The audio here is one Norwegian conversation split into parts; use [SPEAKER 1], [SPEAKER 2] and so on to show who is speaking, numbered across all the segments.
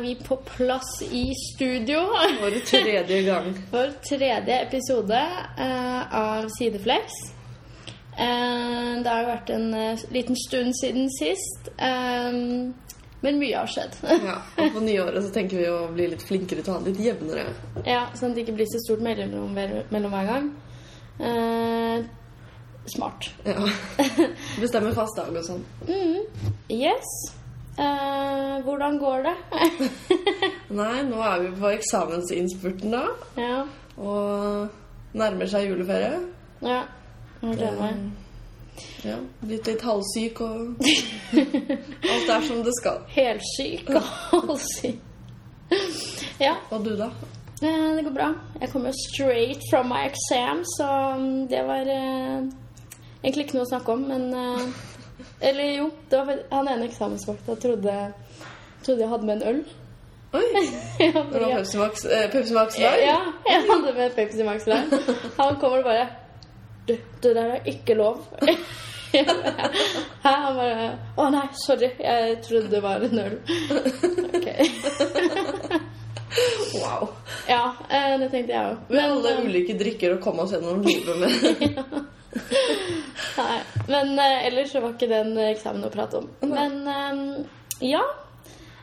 [SPEAKER 1] vi på plass i studio
[SPEAKER 2] For tredje gang.
[SPEAKER 1] for tredje episode eh, av Sideflex. Eh, det har jo vært en eh, liten stund siden sist, eh, men mye har skjedd.
[SPEAKER 2] Ja. Og på nyåret så tenker vi å bli litt flinkere til å ha det litt jevnere.
[SPEAKER 1] ja, Sånn at det ikke blir så stort mellom, mellom hver gang. Eh, smart.
[SPEAKER 2] Ja. Bestemme fast dag og sånn.
[SPEAKER 1] Yes. Eh, hvordan går det?
[SPEAKER 2] Nei, nå er vi på eksamensinnspurten, da.
[SPEAKER 1] ja.
[SPEAKER 2] Og nærmer seg juleferie.
[SPEAKER 1] ja. Jeg gleder meg.
[SPEAKER 2] Ja. Blitt litt halvsyk og Alt er som det skal.
[SPEAKER 1] Helsyk og halvsyk. ja.
[SPEAKER 2] Og du, da?
[SPEAKER 1] Eh, Det går bra. Jeg kommer straight from my exam, så mm, det var eh, egentlig ikke noe å snakke om, men eh, Eller jo, det var fakt- han ene eksamensvakta trodde, trodde jeg hadde med en øl.
[SPEAKER 2] Oi!
[SPEAKER 1] Ja,
[SPEAKER 2] Det var
[SPEAKER 1] fordi-
[SPEAKER 2] Pepsi Max, eh, Pepsi Max dag.
[SPEAKER 1] ja, jeg hadde med Pepsi Max der. Han kommer og bare Du, det der er ikke lov. Hæ? Han bare Å nei, sorry, jeg trodde det var en øl. Ok.
[SPEAKER 2] Wow.
[SPEAKER 1] Ja, eh, det tenkte jeg eh, òg.
[SPEAKER 2] Med alle ulike drikker å komme oss gjennom livet med.
[SPEAKER 1] Nei, men eh, ellers så var ikke den eh, eksamen å prate om. Men eh, ja.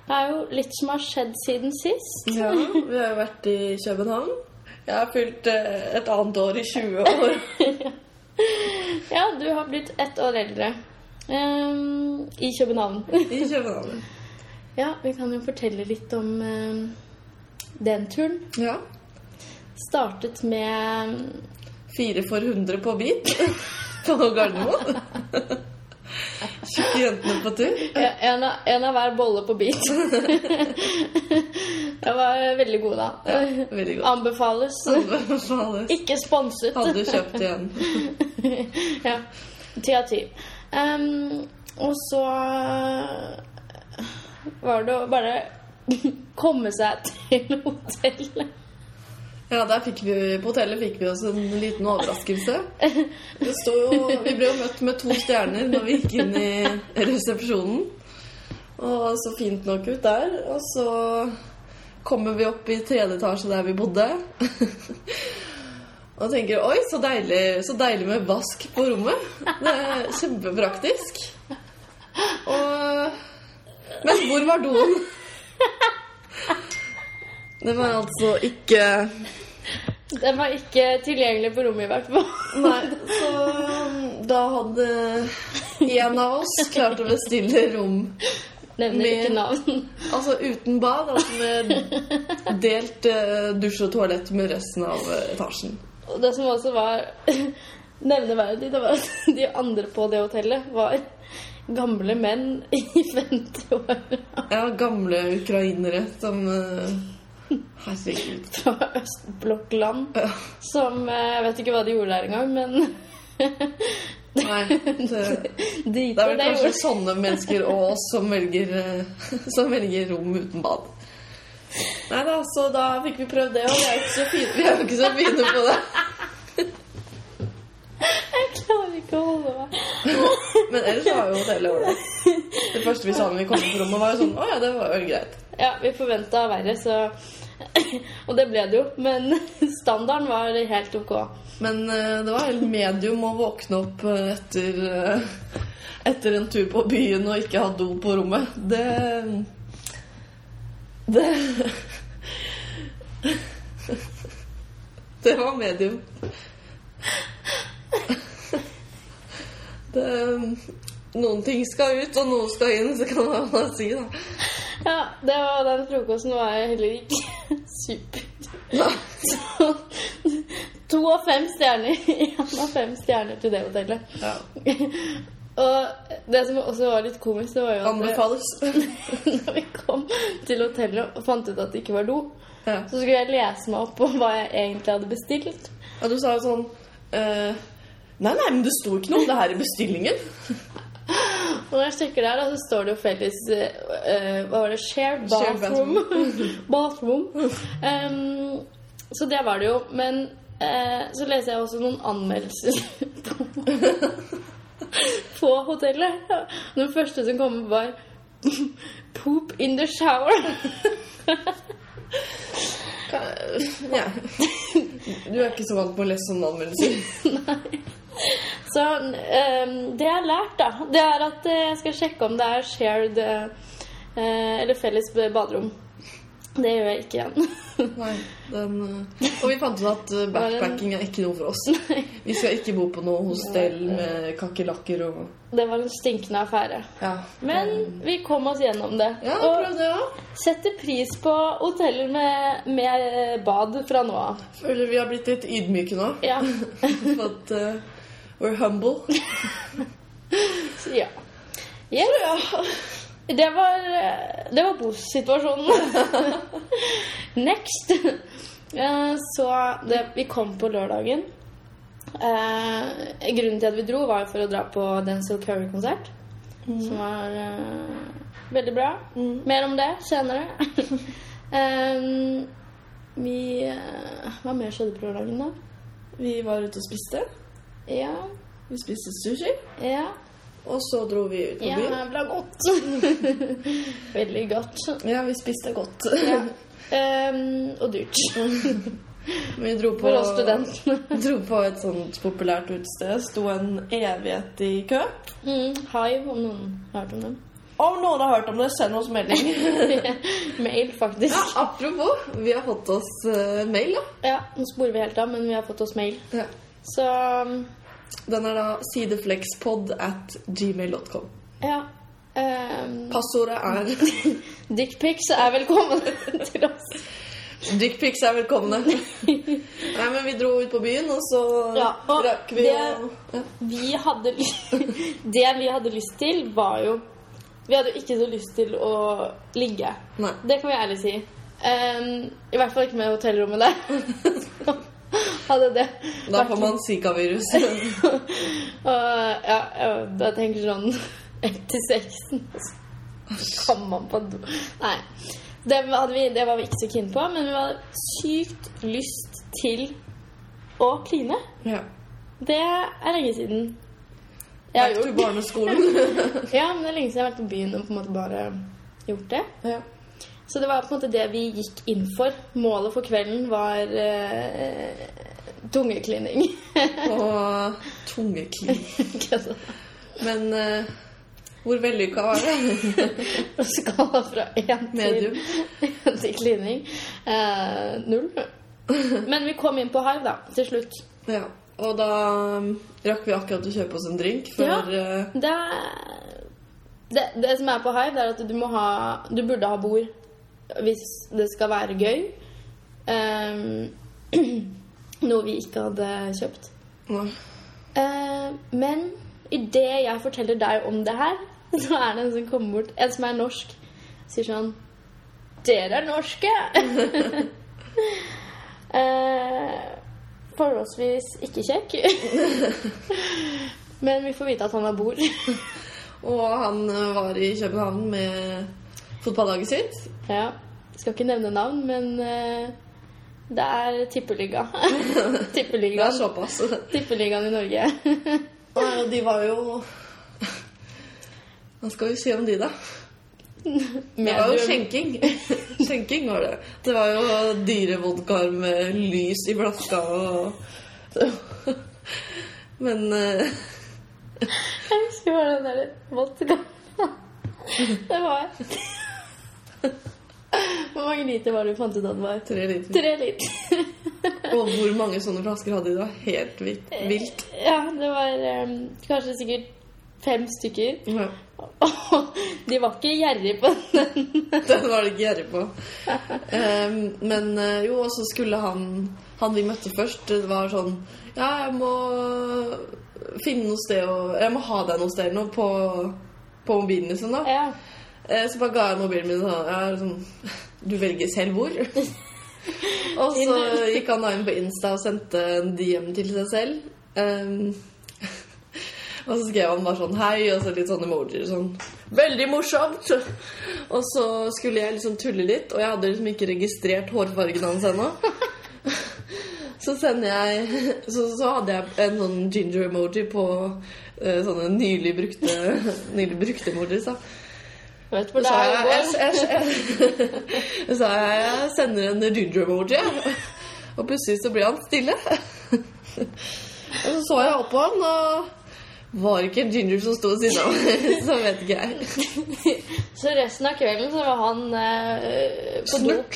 [SPEAKER 1] Det er jo litt som har skjedd siden sist.
[SPEAKER 2] Ja, vi har jo vært i København. Jeg har fylt eh, et annet år i 20 år.
[SPEAKER 1] Ja, du har blitt ett år eldre. Ehm, I København.
[SPEAKER 2] I København.
[SPEAKER 1] Ja, vi kan jo fortelle litt om ehm, den turen.
[SPEAKER 2] Ja.
[SPEAKER 1] Startet med
[SPEAKER 2] Fire for 100 på bit på Gardermoen. Tjukke jentene på tur.
[SPEAKER 1] ja, en, av, en av hver bolle på bit. Jeg var veldig god da.
[SPEAKER 2] Ja, veldig godt.
[SPEAKER 1] Anbefales.
[SPEAKER 2] Anbefales.
[SPEAKER 1] Ikke sponset.
[SPEAKER 2] Hadde kjøpt igjen.
[SPEAKER 1] ja. Ti av ti. Ehm, og så eh, var det å bare komme seg til hotellet.
[SPEAKER 2] Ja, der fikk vi, På hotellet fikk vi oss en liten overraskelse. Det sto jo, Vi ble jo møtt med to stjerner når vi gikk inn i resepsjonen. Og så fint nok ut der. Og så kommer vi opp i tredje etasje der vi bodde. Og tenker oi, så deilig, så deilig med vask på rommet. Det er kjempepraktisk. Og Men hvor var doen? Den var altså ikke
[SPEAKER 1] Den var ikke tilgjengelig på rommet, i hvert fall.
[SPEAKER 2] Nei, så um, da hadde en av oss klart å bestille rom
[SPEAKER 1] Nevner
[SPEAKER 2] Med-
[SPEAKER 1] ikke navn.
[SPEAKER 2] Altså uten bad, altså med delt eh, dusj og toalett med resten av eh, etasjen.
[SPEAKER 1] Og det som også var nevneverdig, det var at de andre på det hotellet var gamle menn i 50-åra
[SPEAKER 2] Ja, gamle ukrainere som eh, Herregud.
[SPEAKER 1] fra østblokkland
[SPEAKER 2] Ja.
[SPEAKER 1] som eh, Jeg vet ikke hva de gjorde der engang, men
[SPEAKER 2] Nei. Det,
[SPEAKER 1] Driter
[SPEAKER 2] det er vel
[SPEAKER 1] det
[SPEAKER 2] kanskje
[SPEAKER 1] gjorde.
[SPEAKER 2] sånne mennesker og oss som velger, eh, som velger rom uten bad. Nei da, så da fikk vi prøvd det, og vi er jo ikke så fine, vi er jo ikke så fine på det.
[SPEAKER 1] Jeg klarer ikke å holde meg.
[SPEAKER 2] Men ellers var jo hotellet ålreit. Det første vi sa når vi kom på rommet, var jo sånn Å ja, det var jo greit.
[SPEAKER 1] Ja, vi forventa verre, så Og det ble det jo. Men standarden var helt ok.
[SPEAKER 2] Men eh, det var helt medium å våkne opp eh, etter, eh, etter en tur på byen og ikke ha do på rommet. Det Det Det var medium. Det, noen ting skal ut, og noen skal inn, så kan man bare si, da.
[SPEAKER 1] Ja, det var den frokosten var jeg heller ikke super.
[SPEAKER 2] Nei.
[SPEAKER 1] Så to av fem stjerner. Én av fem stjerner til det hotellet.
[SPEAKER 2] Ja.
[SPEAKER 1] Og det som også var litt komisk, det var jo at
[SPEAKER 2] Anbefales.
[SPEAKER 1] når vi kom til hotellet og fant ut at det ikke var do,
[SPEAKER 2] Ja.
[SPEAKER 1] så skulle jeg lese meg opp på hva jeg egentlig hadde bestilt.
[SPEAKER 2] Og du sa jo sånn eh, Nei, nei, men det sto ikke noe om det her i bestillingen.
[SPEAKER 1] Og når jeg sjekker der, da, så står det jo felles eh, eh, Hva var det? Shared
[SPEAKER 2] Shared
[SPEAKER 1] bathroom. bathroom. Em, så det var det jo. Men eh, så leser jeg også noen anmeldelser på, på hotellet. Den første som kom, var 'Poop in the shower'.
[SPEAKER 2] Ja. Du er ikke så vant på å lese sånne anmeldelser.
[SPEAKER 1] Så ehm, det jeg har lært, da, det er at eh, jeg skal sjekke om det er shared eh, eh, eller felles b- baderom. Det gjør jeg ikke igjen.
[SPEAKER 2] Nei, den, eh, og vi fant ut at eh, backpacking er ikke noe for oss. Vi skal ikke bo på noe hostell med kakerlakker og
[SPEAKER 1] Det var en stinkende affære.
[SPEAKER 2] ja.
[SPEAKER 1] Men vi kom oss gjennom det.
[SPEAKER 2] Ja,
[SPEAKER 1] og
[SPEAKER 2] prøv det òg.
[SPEAKER 1] setter pris på hoteller med, med eh, bad fra nå av.
[SPEAKER 2] Føler vi har blitt litt ydmyke nå.
[SPEAKER 1] Ja.
[SPEAKER 2] For at eh, we're humble.
[SPEAKER 1] Så, ja. Yes. Det var, eh, det var bosituasjonen. Next. Eh, Så det, vi kom på lørdagen. Eh, grunnen til at vi dro, var jo for å dra på Denzil Curry-konsert. Som var eh, veldig bra.
[SPEAKER 2] Mm.
[SPEAKER 1] Mer om det senere. Eh, vi eh, Hva mer skjedde på lørdagen, da?
[SPEAKER 2] Vi var ute og spiste.
[SPEAKER 1] Ja,
[SPEAKER 2] Vi spiste sushi.
[SPEAKER 1] ja.
[SPEAKER 2] Og så dro vi ut på
[SPEAKER 1] Ja,
[SPEAKER 2] byen.
[SPEAKER 1] jævla godt. Veldig godt.
[SPEAKER 2] Ja, vi spiste godt.
[SPEAKER 1] Ehm, og dyrt.
[SPEAKER 2] Vi dro på,
[SPEAKER 1] For oss studentene.
[SPEAKER 2] dro på et sånt populært utested. Sto en evighet i kø.
[SPEAKER 1] Mm, Hive, om noen har hørt om dem.
[SPEAKER 2] Om noen har hørt om det, send oss melding.
[SPEAKER 1] Mail,
[SPEAKER 2] Ja,
[SPEAKER 1] faktisk.
[SPEAKER 2] apropos, vi har fått oss eh, mail, da.
[SPEAKER 1] Ja, Nå sporer vi helt av, men vi har fått oss mail.
[SPEAKER 2] Ja.
[SPEAKER 1] Så
[SPEAKER 2] Den er da sideflexpod at gmail.com.
[SPEAKER 1] ja. Um,
[SPEAKER 2] Passordet er
[SPEAKER 1] Dickpics er velkommen til oss.
[SPEAKER 2] Dickpics er velkomne. Nei, men vi dro ut på byen, og så
[SPEAKER 1] Ja, og
[SPEAKER 2] rakk vi
[SPEAKER 1] det-
[SPEAKER 2] å ja.
[SPEAKER 1] Vi hadde ly- Det vi hadde lyst til, var jo Vi hadde jo ikke så lyst til å ligge.
[SPEAKER 2] Nei.
[SPEAKER 1] Det kan vi ærlig si. Ehm, I hvert fall ikke med hotellrommet der. Hadde det
[SPEAKER 2] Da
[SPEAKER 1] vært
[SPEAKER 2] får man zikavirus.
[SPEAKER 1] Og ja, jeg bare tenker sånn Etter sexen så kom man på do. Nei. Det, hadde vi, det var vi ikke så keen på, men vi hadde sykt lyst til å kline.
[SPEAKER 2] Ja.
[SPEAKER 1] Det er lenge siden jeg har
[SPEAKER 2] Back to
[SPEAKER 1] gjort.
[SPEAKER 2] barneskolen.
[SPEAKER 1] Ja, men det er lenge siden jeg har vært på byen og på en måte bare gjort det.
[SPEAKER 2] ja.
[SPEAKER 1] Så det var på en måte det vi gikk inn for. Målet for kvelden var eh, tungeklining.
[SPEAKER 2] Og tungeklin.
[SPEAKER 1] Kødda.
[SPEAKER 2] Men eh, hvor vellykka var det?
[SPEAKER 1] På skala fra én til,
[SPEAKER 2] Medium.
[SPEAKER 1] til klining. Eh, null. Men vi kom inn på Hive, da, til slutt.
[SPEAKER 2] Ja. Og da um, rakk vi akkurat å kjøpe oss en drink, for
[SPEAKER 1] Ja.
[SPEAKER 2] eh,
[SPEAKER 1] Det, er- det, det som er på Hive, det er at du må ha Du burde ha bord hvis det skal være gøy. Eh, noe vi ikke hadde kjøpt.
[SPEAKER 2] nei.
[SPEAKER 1] Eh, men idet jeg forteller deg om det her, så er det en som kommer bort, en som er norsk, sier sånn Dere er norske! eh, forholdsvis ikke kjekk. men vi får vite at han har bord.
[SPEAKER 2] Og han eh, var i København med fotballaget sitt.
[SPEAKER 1] ja. Skal ikke nevne navn, men eh, det er tippeliga.
[SPEAKER 2] Det er
[SPEAKER 1] Tippeligaen.
[SPEAKER 2] såpass.
[SPEAKER 1] Tippeligaen i Norge.
[SPEAKER 2] Og de var jo Hva skal vi si om de, da? Det var jo
[SPEAKER 1] Medium.
[SPEAKER 2] skjenking. Skjenking var det. Det var jo dyre vodkaer med lys i flaska og Men eh,
[SPEAKER 1] Jeg husker bare den der vodka. Det var Hvor mange liter var det du fant ut at det var?
[SPEAKER 2] tre liter.
[SPEAKER 1] Tre liter.
[SPEAKER 2] Og hvor mange sånne flasker hadde de? Det var helt vilt. vilt.
[SPEAKER 1] Ja, det var eh, kanskje sikkert fem stykker.
[SPEAKER 2] Ja.
[SPEAKER 1] Og de var ikke gjerrige på den.
[SPEAKER 2] Den var det ikke gjerrig på. Em, men eh, jo, og så skulle han Han vi møtte først, det var sånn Ja, jeg må finne noe sted å Jeg må ha deg noe sted nå på, på mobilen, liksom. da
[SPEAKER 1] Ja.
[SPEAKER 2] Eh, Så bare ga jeg mobilen min og sa ja, sånn, Du velger selv hvor. og så gikk han da inn på Insta og sendte en DM til seg selv. Ehm, og så skrev han bare sånn hei, og så litt sånne emojier sånn. Veldig morsomt! Og så skulle jeg liksom tulle litt, og jeg hadde liksom ikke registrert hårfargen hans ennå. Så sender jeg så, så hadde jeg en sånn ginger-emoji på eh, sånne nylig brukte, nylig brukte emojis. da
[SPEAKER 1] Vet hvor det
[SPEAKER 2] Så sa
[SPEAKER 1] er
[SPEAKER 2] jeg
[SPEAKER 1] å gå.
[SPEAKER 2] jeg, jeg, jeg, så sa jeg, jeg sender en rudder-emoji, og plutselig så ble han stille. Og så så jeg opp på han, og var ikke Ginger som sto ved siden av meg. Så vet ikke jeg.
[SPEAKER 1] Så resten av kvelden så var han eh, på do.
[SPEAKER 2] Snurt.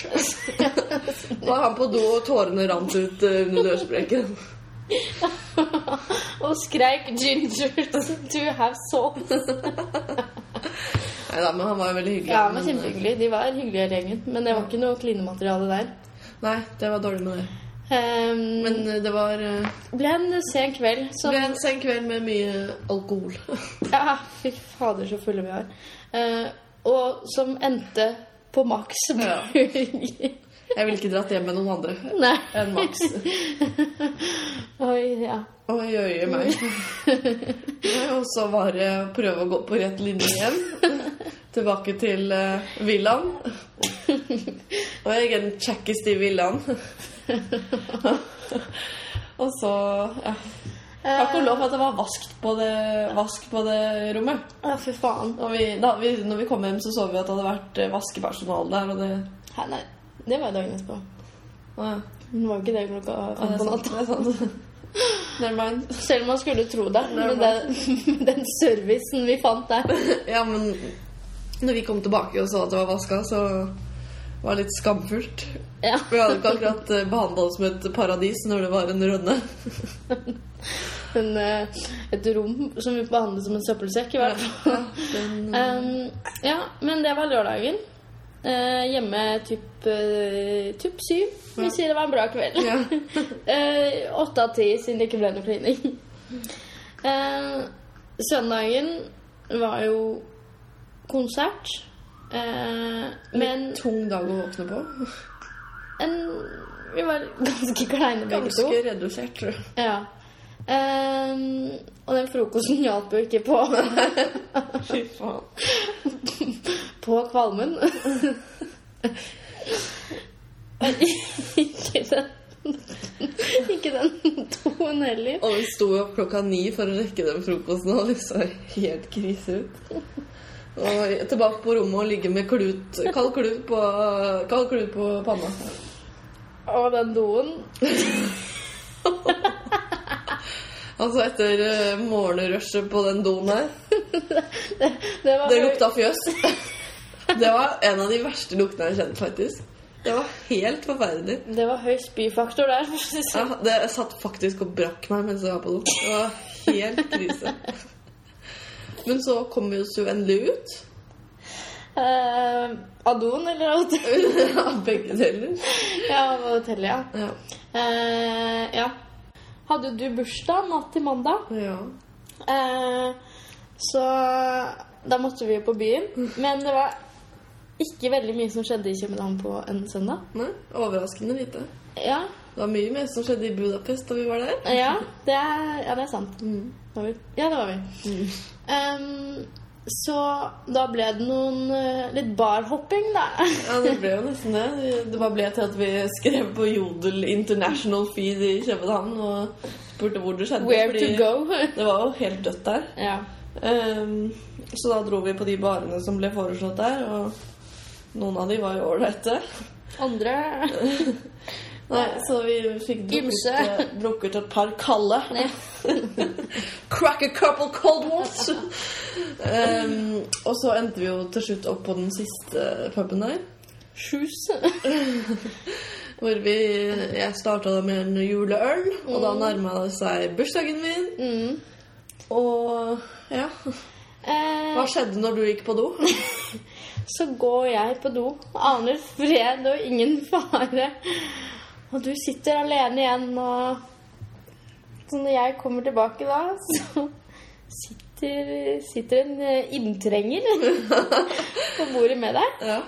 [SPEAKER 2] Var han på do, og tårene rant ut eh, under dørsprekken.
[SPEAKER 1] og skreik 'Ginger, do have salt'.
[SPEAKER 2] Nei da, men han var jo veldig hyggelig.
[SPEAKER 1] Ja, men
[SPEAKER 2] eh,
[SPEAKER 1] kjempehyggelig. De var hyggelige hele gjengen. Men det var ikke noe klinemateriale der.
[SPEAKER 2] Nei, det var dårlig med det.
[SPEAKER 1] Ehm,
[SPEAKER 2] Men eh, det var eh,
[SPEAKER 1] ble en sen kveld.
[SPEAKER 2] det
[SPEAKER 1] Som,
[SPEAKER 2] ble en sen kveld med mye alkohol.
[SPEAKER 1] Ja, fy fader, så fulle vi var. Eh, og som endte på Max
[SPEAKER 2] Ja.
[SPEAKER 1] burger.
[SPEAKER 2] Jeg ville ikke dratt hjem med noen andre
[SPEAKER 1] Nei.
[SPEAKER 2] enn Max.
[SPEAKER 1] Oi, ja.
[SPEAKER 2] Oi, oi, oi, meg. Nei, Og så var det prøve å gå på rett linje igjen. Tilbake til eh, villaen. Og jeg er den kjekkeste i villaen. Og så ja. Takk og lov for at det var vaskt på det, vask på det rommet.
[SPEAKER 1] Eh, Ja, fy faen.
[SPEAKER 2] Og vi, da, vi, når vi kom hjem, så så vi at det hadde vært eh, vaskepersonal der. Og det,
[SPEAKER 1] Hæ, nei, det var jo dagen etterpå.
[SPEAKER 2] ja,
[SPEAKER 1] Hun var jo ikke det klokka
[SPEAKER 2] ja,
[SPEAKER 1] fem
[SPEAKER 2] det
[SPEAKER 1] på
[SPEAKER 2] er
[SPEAKER 1] natta.
[SPEAKER 2] sant. Det er sant. Never mind.
[SPEAKER 1] Selv om man skulle tro det,
[SPEAKER 2] Nei,
[SPEAKER 1] med den, den servicen vi fant der.
[SPEAKER 2] Ja, men når vi kom tilbake og så at det var vaska, så var det litt skamfullt.
[SPEAKER 1] Ja.
[SPEAKER 2] Vi hadde ikke akkurat behandla oss som et paradis når det var en rønne.
[SPEAKER 1] En, eh, et rom som vi behandlet som en søppelsekk, i hvert fall.
[SPEAKER 2] Ja, men,
[SPEAKER 1] Um, ja, men det var lørdagen. Eh, hjemme typ, eh, typ syv. Vi sier det var en bra kveld.
[SPEAKER 2] ja.
[SPEAKER 1] Eh, Åtte av ti, siden det ikke ble noe klining. Eh, søndagen var jo konsert. Eh, men
[SPEAKER 2] Litt tung dag å våkne på.
[SPEAKER 1] en, vi var ganske kleine begge to.
[SPEAKER 2] Ganske redusert, tror jeg.
[SPEAKER 1] Ja. Ehm, og den frokosten hjalp jo ikke på,
[SPEAKER 2] Fy faen.
[SPEAKER 1] på kvalmen. ikke den Ikke den toen heller.
[SPEAKER 2] Og vi sto opp klokka ni for å rekke den frokosten, og det så helt krise ut. Og tilbake på rommet og ligge med klut, kald klut på, kald klut på panna.
[SPEAKER 1] Og den doen
[SPEAKER 2] Altså etter eh, morgenrushet på den doen her.
[SPEAKER 1] Det var
[SPEAKER 2] Det lukta fjøs. Det var en av de verste luktene jeg har kjent, faktisk. Det var helt forferdelig.
[SPEAKER 1] høy, det var høy spyfaktor der. for å si det
[SPEAKER 2] Ja,
[SPEAKER 1] sånn.
[SPEAKER 2] det, jeg satt faktisk og brakk meg mens jeg var på do. Det var helt krise. Men så kom vi oss jo endelig ut.
[SPEAKER 1] Ehm, av doen eller av hotellet?
[SPEAKER 2] Av begge deler.
[SPEAKER 1] Ja, av hotellet, ja.
[SPEAKER 2] Ja.
[SPEAKER 1] Eh, ja. Hadde du bursdag natt til mandag?
[SPEAKER 2] ja.
[SPEAKER 1] Eh, Så da måtte vi jo på byen. Men det var ikke veldig mye som skjedde i København på en søndag.
[SPEAKER 2] Nei, overraskende lite.
[SPEAKER 1] Ja,
[SPEAKER 2] Det var mye mer som skjedde i Budapest da vi var der.
[SPEAKER 1] ja, det, er, ja det er sant.
[SPEAKER 2] Mm.
[SPEAKER 1] Var vi? Ja, det var vi. Em, så da ble det noen eh, litt barhopping, da.
[SPEAKER 2] Ja, det ble jo nesten det. Det bare ble til at vi skrev på Jodel International Feed i København og spurte hvor det skjedde.
[SPEAKER 1] Where to
[SPEAKER 2] fordi
[SPEAKER 1] go.
[SPEAKER 2] Det var jo helt dødt der.
[SPEAKER 1] ja.
[SPEAKER 2] Ehm, så da dro vi på de barene som ble foreslått der, og noen av de var jo ålreite.
[SPEAKER 1] Andre
[SPEAKER 2] Nei, så vi fikk
[SPEAKER 1] Ymse.
[SPEAKER 2] drukket, eh, drukket et par kalde. Crack a couple cold ones! Ehm, og så endte vi jo til slutt opp på den siste puben der.
[SPEAKER 1] Shoes.
[SPEAKER 2] Hvor vi, jeg starta med en juleøl, og da nærma det seg bursdagen min.
[SPEAKER 1] Mm.
[SPEAKER 2] Og ja
[SPEAKER 1] Eh,
[SPEAKER 2] Hva skjedde når du gikk på do?
[SPEAKER 1] så går jeg på do. Aner fred og ingen fare. Og du sitter alene igjen, og Så når jeg kommer tilbake da, så sitter, sitter en eh, inntrenger på bordet med deg.
[SPEAKER 2] Ja.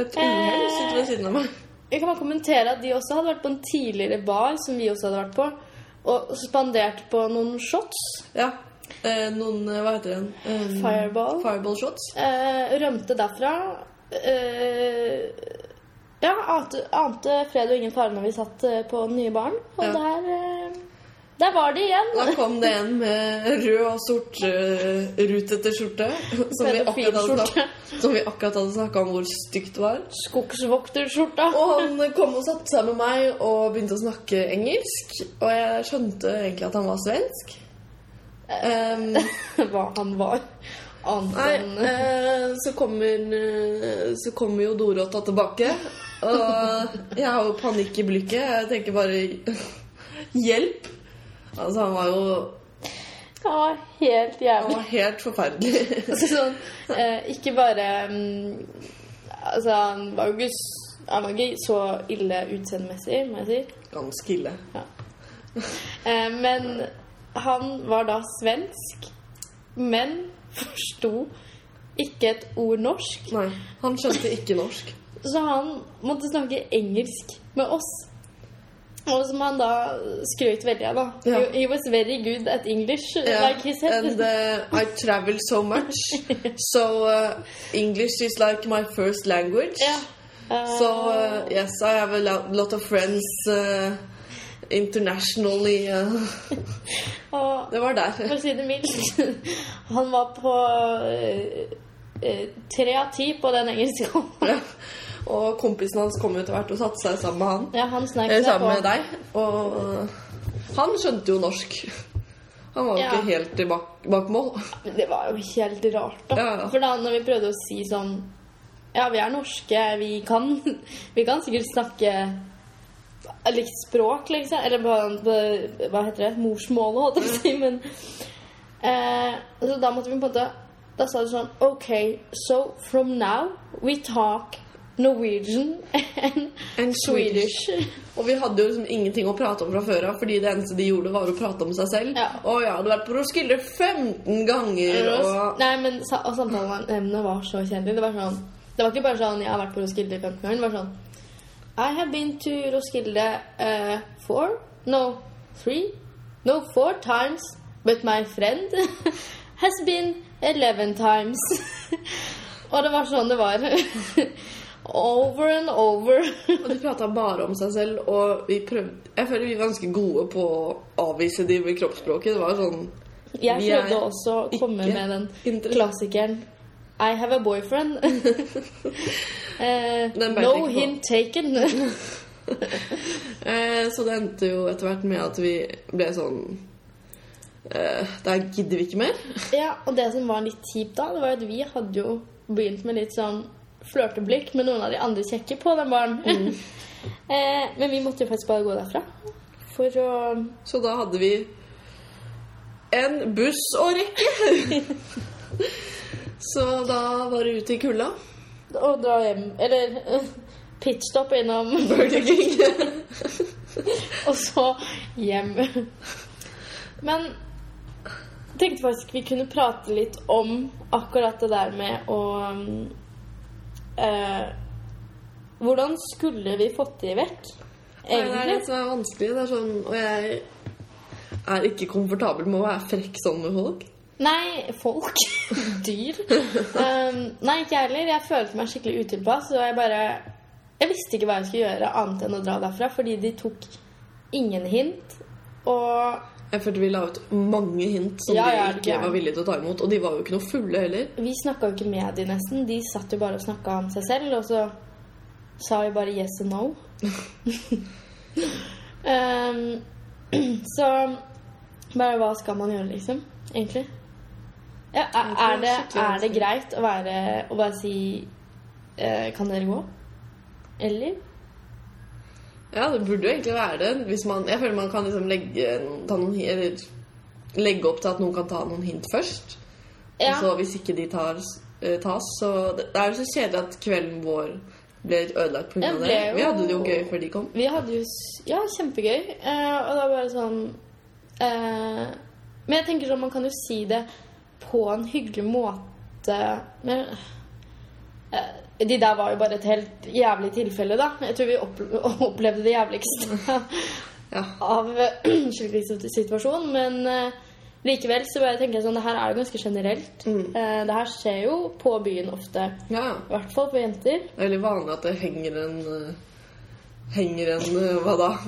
[SPEAKER 2] Et uhell sitter ved siden av meg.
[SPEAKER 1] Jeg kan bare kommentere at de også hadde vært på en tidligere bar som vi også hadde vært på, og spandert på noen shots.
[SPEAKER 2] Ja. Eh, noen eh, Hva heter den? Eh,
[SPEAKER 1] Fireball.
[SPEAKER 2] Fireball shots.
[SPEAKER 1] Eh, rømte derfra. Eh, ja, ante, ante fred og ingen fare når vi satt eh, på den nye baren. Og
[SPEAKER 2] Ja.
[SPEAKER 1] der eh, Der var de igjen!
[SPEAKER 2] Da kom det en med rød og sort eh, rutete skjorte. Som vi akkurat hadde
[SPEAKER 1] Pedofilskjorte.
[SPEAKER 2] snakket- som vi akkurat hadde snakka om hvor stygt det var.
[SPEAKER 1] Skogsvokterskjorta.
[SPEAKER 2] Og han kom og satte seg med meg og begynte å snakke engelsk. Og jeg skjønte egentlig at han var svensk. Ehm,
[SPEAKER 1] Hva han var.
[SPEAKER 2] nei,
[SPEAKER 1] Annet enn
[SPEAKER 2] eh, så, kommer, eh, så kommer jo Dorotta tilbake. Og jeg har jo panikk i blikket. Jeg tenker bare Hjelp! Altså, han var jo
[SPEAKER 1] Ja, helt
[SPEAKER 2] han
[SPEAKER 1] jævlig.
[SPEAKER 2] var helt forferdelig.
[SPEAKER 1] Altså, sånn, eh, ikke bare mm, Altså, han var jo ikke s- han var ikke så ille utseendemessig, må jeg si.
[SPEAKER 2] Ganske ille.
[SPEAKER 1] Eh, men han var da svensk, men forsto ikke et ord norsk.
[SPEAKER 2] Nei, han skjønte ikke norsk.
[SPEAKER 1] Så han måtte snakke engelsk med oss. Og som han da skrøt veldig av, da.
[SPEAKER 2] Ja.
[SPEAKER 1] He- He was very good at English. Like he said.
[SPEAKER 2] and uh, I travel so much, so uh, English is like my first language.
[SPEAKER 1] Ja. Eh,
[SPEAKER 2] So uh, yes, I have a lo- lot of friends uh, internationally. Uh,
[SPEAKER 1] og
[SPEAKER 2] det var der.
[SPEAKER 1] For å si det mildt. Han var på eh, eh, tre av ti på den engelske.
[SPEAKER 2] Ja. Og kompisen hans kom jo etter hvert og satte seg sammen med han.
[SPEAKER 1] Ja, han snek
[SPEAKER 2] Eller
[SPEAKER 1] seg
[SPEAKER 2] sammen
[SPEAKER 1] på.
[SPEAKER 2] med deg. Og uh, han skjønte jo norsk. Han var jo
[SPEAKER 1] Ja.
[SPEAKER 2] ikke helt i bak, bak mål.
[SPEAKER 1] Men Det var jo helt rart, da.
[SPEAKER 2] Ja, ja.
[SPEAKER 1] For da når vi prøvde å si sånn Ja, vi er norske, vi kan, vi kan sikkert snakke likt språk, liksom. Eller på, på hva heter det? Morsmålet, holdt jeg på å si. Men eh, Så da måtte vi på en måte Da sa du sånn OK, so from now we talk Norwegian and
[SPEAKER 2] And
[SPEAKER 1] Swedish.
[SPEAKER 2] Og vi hadde jo liksom ingenting å prate om fra før av, fordi det eneste de gjorde, var å prate om seg selv.
[SPEAKER 1] Ja.
[SPEAKER 2] Og jeg hadde vært på Roskilde 15 ganger, og
[SPEAKER 1] Nei, men sa og samtaleemnet var så kjedelig. Det var sånn Det var ikke bare sånn 'Jeg har vært på Roskilde 15 ganger'. Det var sånn I have been to Roskilde eh, four No, three No, four times But my friend has been 11 times Og det var sånn det var Over and over
[SPEAKER 2] og de prata bare om seg selv, og vi prøvde Jeg føler vi var ganske gode på å avvise de med kroppsspråket. Det var sånn
[SPEAKER 1] Jeg
[SPEAKER 2] Vi er
[SPEAKER 1] prøvde også å komme
[SPEAKER 2] ikke
[SPEAKER 1] med den
[SPEAKER 2] interessert.
[SPEAKER 1] klassikeren I have a boyfriend. Eh,
[SPEAKER 2] Den beit
[SPEAKER 1] no
[SPEAKER 2] ikke på.
[SPEAKER 1] hint taken.
[SPEAKER 2] eh, Så det endte jo etter hvert med at vi ble sånn eh, Der gidder vi ikke mer.
[SPEAKER 1] ja, og det som var litt kjipt da, det var at vi hadde jo begynt med litt sånn flørteblikk med noen av de andre kjekke på den baren.
[SPEAKER 2] Mm.
[SPEAKER 1] eh, men vi måtte jo faktisk bare gå derfra. For å
[SPEAKER 2] Så da hadde vi en buss å rekke. så da var det ut i kulda.
[SPEAKER 1] å dra hjem Eller eh, pitstop innom
[SPEAKER 2] Burger King.
[SPEAKER 1] Og så hjem. Men jeg tenkte faktisk vi kunne prate litt om akkurat det der med å um, eh, Hvordan skulle vi fått de vekk,
[SPEAKER 2] Nei, det er det
[SPEAKER 1] egentlig?
[SPEAKER 2] som er vanskelig. Det er sånn, og jeg er ikke komfortabel med å være frekk sånn med folk.
[SPEAKER 1] Nei, folk. Dyr. Um, nei, ikke jeg heller. Jeg følte meg skikkelig utilpass. Og jeg bare Jeg visste ikke hva jeg skulle gjøre annet enn å dra derfra, fordi de tok ingen hint. Og
[SPEAKER 2] Jeg følte vi la ut mange hint som
[SPEAKER 1] Ja, ja,
[SPEAKER 2] de
[SPEAKER 1] er du
[SPEAKER 2] ikke
[SPEAKER 1] gæren?
[SPEAKER 2] var villige til å ta imot. Og de var jo ikke noe fulle heller.
[SPEAKER 1] Vi snakka jo ikke med de nesten. De satt jo bare og snakka om seg selv, og så sa vi bare yes and no. Ehm, så bare hva skal man gjøre, liksom? Egentlig. Ja, er, er, det, er det greit å være Å bare si eh, Kan dere gå? Eller?
[SPEAKER 2] Ja, det burde jo egentlig være det. Hvis man, jeg føler man kan liksom legge, ta noen, hi- eller, legge opp til at noen kan ta noen hint først.
[SPEAKER 1] Ja.
[SPEAKER 2] Og så hvis ikke de tar, eh, tas, så Det det er jo så kjedelig at kvelden vår ble litt ødelagt pga.
[SPEAKER 1] Den
[SPEAKER 2] det.
[SPEAKER 1] ble jo-
[SPEAKER 2] Vi hadde det jo gøy før de kom.
[SPEAKER 1] Vi hadde jo s- Ja, kjempegøy. Eh, og det var bare sånn eh, Men jeg tenker sånn, man kan jo si det på en hyggelig måte Men eh, De der var jo bare et helt jævlig tilfelle, da. Jeg tror vi opple opplevde det jævligste
[SPEAKER 2] Ja.
[SPEAKER 1] av slik situasjon. Men eh, likevel så bare tenker jeg sånn Det her er jo ganske generelt.
[SPEAKER 2] Mm.
[SPEAKER 1] Eh, det her skjer jo på byen ofte.
[SPEAKER 2] ja.
[SPEAKER 1] I hvert fall på jenter.
[SPEAKER 2] Det er veldig vanlig at det henger en eh, henger en eh, hva da?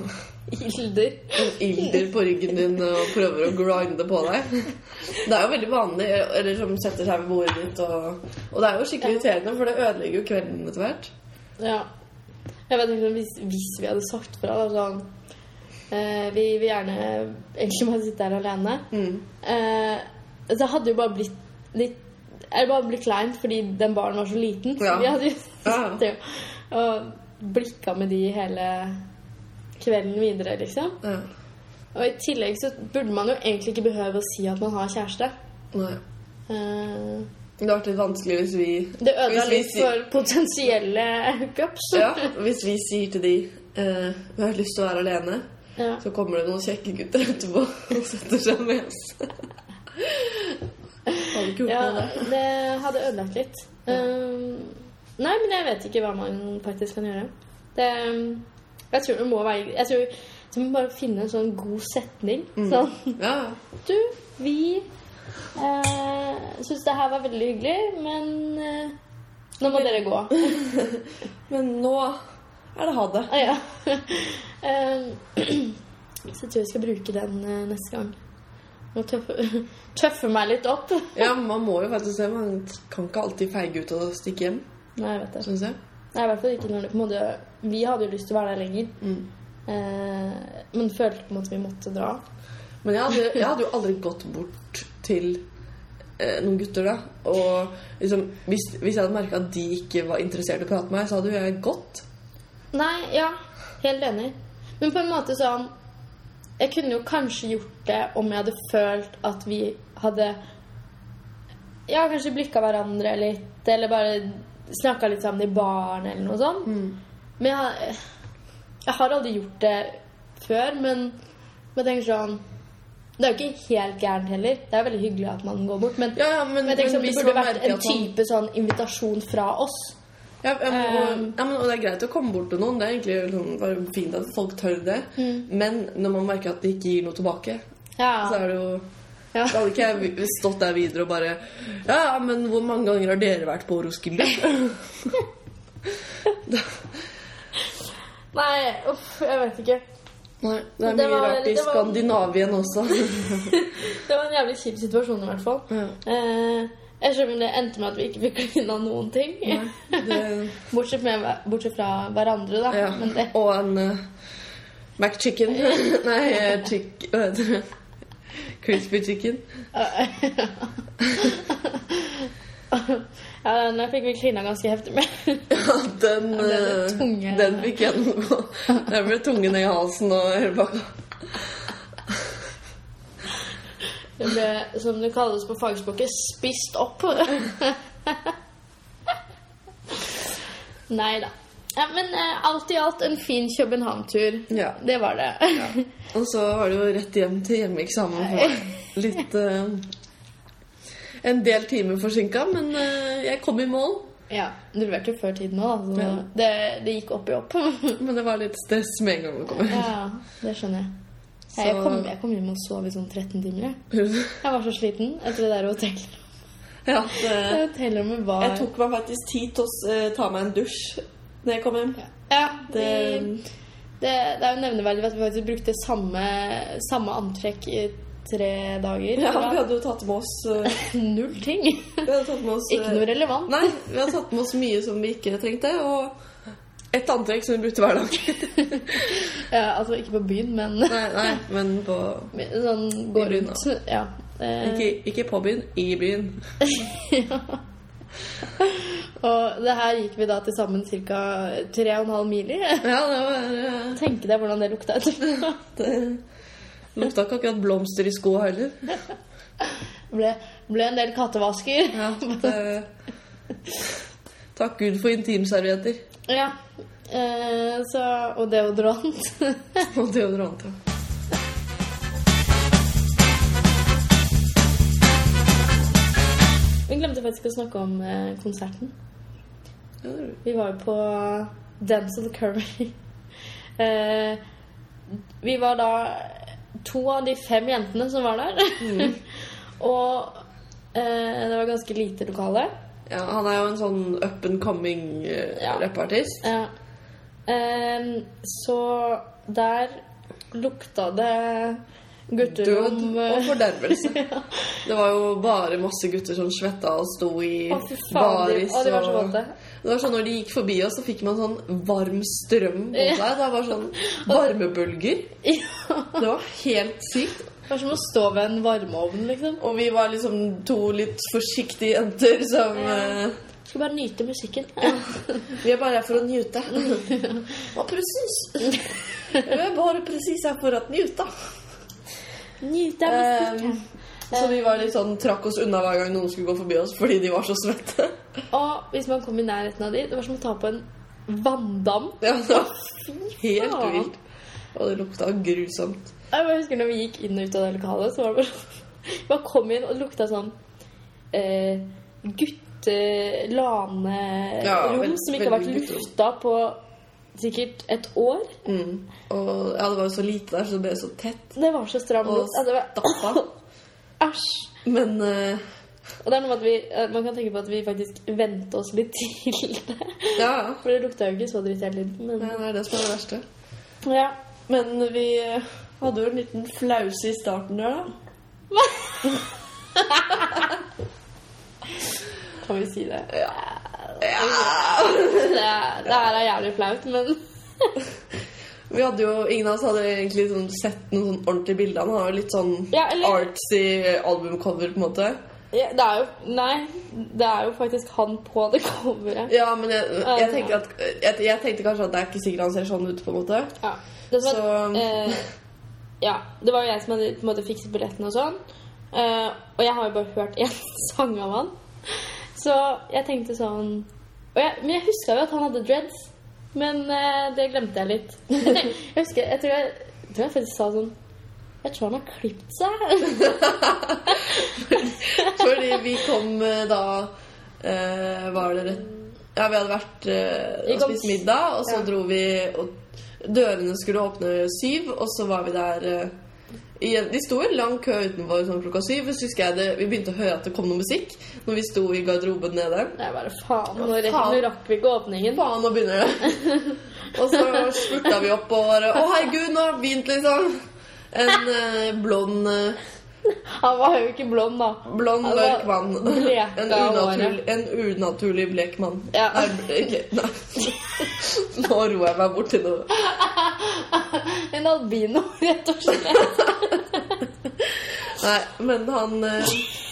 [SPEAKER 1] Ilder.
[SPEAKER 2] En ilder på ryggen din og prøver å grinde på deg. Det er jo veldig vanlig, eller som setter seg ved bordet ditt. Og, og det er jo skikkelig irriterende, for det ødelegger jo kvelden etter hvert.
[SPEAKER 1] Ja. Jeg vet ikke om hvis, hvis vi hadde sagt fra, da sånn eh, Vi vil gjerne egentlig bare sitte her alene.
[SPEAKER 2] Mm.
[SPEAKER 1] Eh, det hadde jo bare blitt litt Eller bare blitt kleint fordi den baren var så liten. Så
[SPEAKER 2] Ja.
[SPEAKER 1] vi hadde jo
[SPEAKER 2] Ja.
[SPEAKER 1] sittet jo og blikka med de hele kvelden videre, liksom.
[SPEAKER 2] Ja.
[SPEAKER 1] Og i tillegg så burde man jo egentlig ikke behøve å si at man har kjæreste.
[SPEAKER 2] Nei.
[SPEAKER 1] Eh,
[SPEAKER 2] Det hadde vært litt vanskelig hvis vi
[SPEAKER 1] det ødela
[SPEAKER 2] Hvis vi
[SPEAKER 1] litt
[SPEAKER 2] sier-
[SPEAKER 1] for potensielle hookups.
[SPEAKER 2] Ja, hvis vi sier til de eh, Vi har lyst til å være alene,
[SPEAKER 1] Ja.
[SPEAKER 2] så kommer det noen kjekke gutter etterpå og setter seg med oss. Hadde ikke gjort
[SPEAKER 1] Ja,
[SPEAKER 2] noe av det.
[SPEAKER 1] det hadde ødelagt litt. Um, nei, men jeg vet ikke hva man faktisk kan gjøre. Det, um, jeg tror det må være Jeg tror du må bare finne en sånn god setning. Sånn
[SPEAKER 2] Ja.
[SPEAKER 1] Du, vi eh, syns det her var veldig hyggelig, men eh, nå må dere gå.
[SPEAKER 2] Men nå er det ha det.
[SPEAKER 1] Ah, ja. um, så jeg tror jeg skal bruke den eh, neste gang. Må tøffe, tøffe meg litt opp.
[SPEAKER 2] Ja, man må jo faktisk det. Man kan ikke alltid feige ut og stikke hjem,
[SPEAKER 1] Nei, jeg vet det.
[SPEAKER 2] syns jeg.
[SPEAKER 1] Nei, i hvert fall ikke når det på en måte Vi hadde jo lyst til å være der lenger,
[SPEAKER 2] Mm.
[SPEAKER 1] eh, men følte på en måte vi måtte dra.
[SPEAKER 2] Men jeg hadde, jeg hadde jo aldri gått bort til eh, noen gutter, da. Og liksom, hvis, hvis jeg hadde merka at de ikke var interessert i å prate med meg, så hadde jo jeg gått.
[SPEAKER 1] Nei, ja, helt enig. Men på en måte sånn Jeg kunne jo kanskje gjort det om jeg hadde følt at vi hadde Ja, kanskje blikka hverandre litt, eller bare snakka litt sammen i baren, eller noe sånt.
[SPEAKER 2] Mm.
[SPEAKER 1] Men jeg, har- jeg har aldri gjort det før, men jeg tenker sånn Det er jo ikke helt gærent heller. Det er jo veldig hyggelig at man går bort, men
[SPEAKER 2] Ja, ja, men,
[SPEAKER 1] Men jeg tenker sånn,
[SPEAKER 2] men
[SPEAKER 1] Det
[SPEAKER 2] hvis
[SPEAKER 1] burde
[SPEAKER 2] man
[SPEAKER 1] vært
[SPEAKER 2] merker
[SPEAKER 1] en
[SPEAKER 2] at man-
[SPEAKER 1] type sånn invitasjon fra oss.
[SPEAKER 2] Ja, ja, men, og,
[SPEAKER 1] Um.
[SPEAKER 2] ja, men, og det er greit å komme bort til noen. Det er egentlig sånn, bare fint at folk tør det.
[SPEAKER 1] Mm.
[SPEAKER 2] Men når man merker at de ikke gir noe tilbake, så
[SPEAKER 1] Ja.
[SPEAKER 2] er det jo
[SPEAKER 1] Ja.
[SPEAKER 2] Da hadde ikke jeg vi- stått der videre og bare Ja, men hvor mange ganger har dere vært på Roskilde?
[SPEAKER 1] Nei, uff, jeg vet ikke.
[SPEAKER 2] Nei, det er
[SPEAKER 1] Det
[SPEAKER 2] mye
[SPEAKER 1] var-
[SPEAKER 2] rart i
[SPEAKER 1] det var-
[SPEAKER 2] Skandinavien også.
[SPEAKER 1] Det var en jævlig kjip situasjon i hvert fall.
[SPEAKER 2] Ja.
[SPEAKER 1] Eh, jeg skjønner det endte med at vi ikke fikk klina noen ting.
[SPEAKER 2] Det,
[SPEAKER 1] Bortsett, med, bortsett fra hverandre, da.
[SPEAKER 2] ja.
[SPEAKER 1] Men det,
[SPEAKER 2] Og en eh, McChicken. Nei, eh, chick, hva heter det? Crispy chicken.
[SPEAKER 1] ja, den fikk vi klina ganske heftig med.
[SPEAKER 2] Ja, den,
[SPEAKER 1] ble det
[SPEAKER 2] eh,
[SPEAKER 1] tunge-
[SPEAKER 2] den fikk jeg noe Den ble tunge ned i halsen og hele pakka.
[SPEAKER 1] Det ble, som det kalles på fagspråket, spist opp. Nei da. Ja, men eh, alt i alt en fin København-tur.
[SPEAKER 2] Ja.
[SPEAKER 1] Det var det.
[SPEAKER 2] Og så var det jo rett hjem til hjemmeeksamen. for meg. Litt eh, En del timer forsinka, men eh, jeg kom i mål.
[SPEAKER 1] ja. Du leverte jo før tiden òg, da. Så
[SPEAKER 2] Ja.
[SPEAKER 1] det, det gikk opp i opp.
[SPEAKER 2] Men det var litt stress med en gang vi kom.
[SPEAKER 1] ja, det skjønner jeg. Ja, Jeg kom, jeg kom hjem og sov i sånn 13 timer. Jeg, jeg var så sliten etter det der hotellet.
[SPEAKER 2] Ja, det,
[SPEAKER 1] Hotellrommet var
[SPEAKER 2] jeg tok meg faktisk tid til å eh, ta meg en dusj når jeg kom hjem.
[SPEAKER 1] Ja, vi,
[SPEAKER 2] Det,
[SPEAKER 1] Det, det er jo nevneverdig at vi faktisk brukte samme, samme antrekk i tre dager. Det
[SPEAKER 2] ja,
[SPEAKER 1] var
[SPEAKER 2] vi hadde jo tatt med oss eh,
[SPEAKER 1] Null ting.
[SPEAKER 2] Vi hadde tatt med oss eh,
[SPEAKER 1] Ikke noe relevant.
[SPEAKER 2] Nei, vi har tatt med oss mye som vi ikke trengte, og et antrekk som vi brukte hver dag.
[SPEAKER 1] Ja, altså ikke på byen, men
[SPEAKER 2] Nei, nei, men på
[SPEAKER 1] sånn gå
[SPEAKER 2] I byen,
[SPEAKER 1] rundt. Ja. Eh,
[SPEAKER 2] ikke, ikke på byen, i byen.
[SPEAKER 1] og det her gikk vi da til sammen ca. 3,5 mil i.
[SPEAKER 2] Ja, det var eh,
[SPEAKER 1] Tenke deg hvordan det lukta etterpå.
[SPEAKER 2] Det lukta ikke akkurat blomster i skoa heller.
[SPEAKER 1] Ble, ble en del kattevasker.
[SPEAKER 2] Ja, det- Takk Gud for intimservietter
[SPEAKER 1] Ja. Eh, så, og deodorant.
[SPEAKER 2] og deodorant. ja.
[SPEAKER 1] Vi glemte faktisk å snakke om eh, konserten.
[SPEAKER 2] Ja, det er-
[SPEAKER 1] Vi var jo på Dance of the Curry. Eh, vi var da to av de fem jentene som var der.
[SPEAKER 2] Mm.
[SPEAKER 1] og eh, det var ganske lite lokale.
[SPEAKER 2] Ja, han er jo en sånn up and coming eh,
[SPEAKER 1] Ja.
[SPEAKER 2] rappartist.
[SPEAKER 1] Ja. Ehm, så der lukta det gutterom
[SPEAKER 2] Død og fordervelse. Det var jo bare masse gutter som svetta og sto i
[SPEAKER 1] Å, fy faen. de-
[SPEAKER 2] baris.
[SPEAKER 1] Å, de var så
[SPEAKER 2] og-
[SPEAKER 1] våte.
[SPEAKER 2] Det var sånn Når de gikk forbi oss, så fikk man sånn varm strøm på seg. Det var sånn varmebølger.
[SPEAKER 1] Ja.
[SPEAKER 2] Det var helt sykt.
[SPEAKER 1] Det var som å stå ved en varmeovn, liksom.
[SPEAKER 2] Og vi var liksom to litt forsiktige jenter som
[SPEAKER 1] Ja.
[SPEAKER 2] eh,
[SPEAKER 1] Skulle bare nyte musikken.
[SPEAKER 2] Vi er bare her for å nyte. Ja, presis. Vi er bare presis her for å nyte.
[SPEAKER 1] Nyte av musikken.
[SPEAKER 2] Eh, så vi var litt sånn, trakk oss unna hver gang noen skulle gå forbi oss fordi de var så svette.
[SPEAKER 1] Og hvis man kom i nærheten av de, det var som å ta på en vanndam.
[SPEAKER 2] Ja, det var helt vilt. Og det lukta grusomt.
[SPEAKER 1] Jeg bare husker når vi gikk inn og ut av det lokalet, så var det bare sånn Man kom inn og det lukta sånn eh,
[SPEAKER 2] Ja,
[SPEAKER 1] guttelanerom
[SPEAKER 2] veld-
[SPEAKER 1] som ikke har vært
[SPEAKER 2] veldig gutterom.
[SPEAKER 1] lufta på sikkert et år.
[SPEAKER 2] Mm. Og ja, det var jo så lite der, så det ble så tett.
[SPEAKER 1] Det var så stram
[SPEAKER 2] Og
[SPEAKER 1] lukt. Ja, det var-
[SPEAKER 2] stappa.
[SPEAKER 1] Æsj!
[SPEAKER 2] Men eh,
[SPEAKER 1] Og det er noe med at vi, eh, man kan tenke på at vi faktisk vente oss litt til det.
[SPEAKER 2] ja, ja.
[SPEAKER 1] For det lukta jo ikke så dritt hele tiden.
[SPEAKER 2] Nei,
[SPEAKER 1] Men,
[SPEAKER 2] Det er det som er det verste.
[SPEAKER 1] ja.
[SPEAKER 2] Men vi eh, hadde jo en liten flause i starten der, da.
[SPEAKER 1] Kan vi si det?
[SPEAKER 2] Ja.
[SPEAKER 1] Det, det her er jævlig flaut, men
[SPEAKER 2] Vi hadde jo, Ingen av oss hadde egentlig sånn sett noen sånn ordentlig bilde. Han har jo litt sånn
[SPEAKER 1] Ja, eller-
[SPEAKER 2] artsy albumcover, på en måte.
[SPEAKER 1] Ja, det er jo Nei, det er jo faktisk han på det coveret.
[SPEAKER 2] Ja, men jeg, jeg, tenker at, jeg, jeg tenkte kanskje at det er ikke sikkert han ser sånn ut, på en måte.
[SPEAKER 1] Ja. Det, som
[SPEAKER 2] Så
[SPEAKER 1] var- eh, ja, det var jo jeg som hadde på en måte fikset billetten og sånn. Eh, og jeg har jo bare hørt én sang av han. Så jeg tenkte sånn og jeg, Men jeg huska jo at han hadde dreads. Men eh, det glemte jeg litt. jeg husker, jeg tror jeg, jeg tror jeg faktisk sa sånn Jeg tror han har klipt seg.
[SPEAKER 2] Fordi vi kom eh, da eh, Var det rett Ja, vi hadde vært eh,
[SPEAKER 1] Vi
[SPEAKER 2] og
[SPEAKER 1] kom-
[SPEAKER 2] spist middag, og så
[SPEAKER 1] Ja.
[SPEAKER 2] dro vi og Dørene skulle åpne syv, og så var vi der eh, i en- de sto i en lang kø utenfor sånn klokka syv. og Så husker jeg det, Vi begynte å høre at det kom noe musikk når vi sto i garderoben nede.
[SPEAKER 1] Jeg bare faen, nå
[SPEAKER 2] Å,
[SPEAKER 1] rekk-
[SPEAKER 2] faen.
[SPEAKER 1] nå rakk vi ikke åpningen.
[SPEAKER 2] Faen, nå begynner det. Og så spurta vi opp og bare Å, herregud, nå har det begynt, liksom. En eh, blond, eh,
[SPEAKER 1] Han var jo ikke blond, da.
[SPEAKER 2] blond
[SPEAKER 1] Han
[SPEAKER 2] mørk
[SPEAKER 1] var
[SPEAKER 2] mann.
[SPEAKER 1] bleka
[SPEAKER 2] En
[SPEAKER 1] av
[SPEAKER 2] unaturlig, en unaturlig blek mann.
[SPEAKER 1] Ja.
[SPEAKER 2] Nei, ble- ikke- nei. Nå roer jeg meg bort til noe.
[SPEAKER 1] En albino, rett og slett.
[SPEAKER 2] Nei, men han, eh,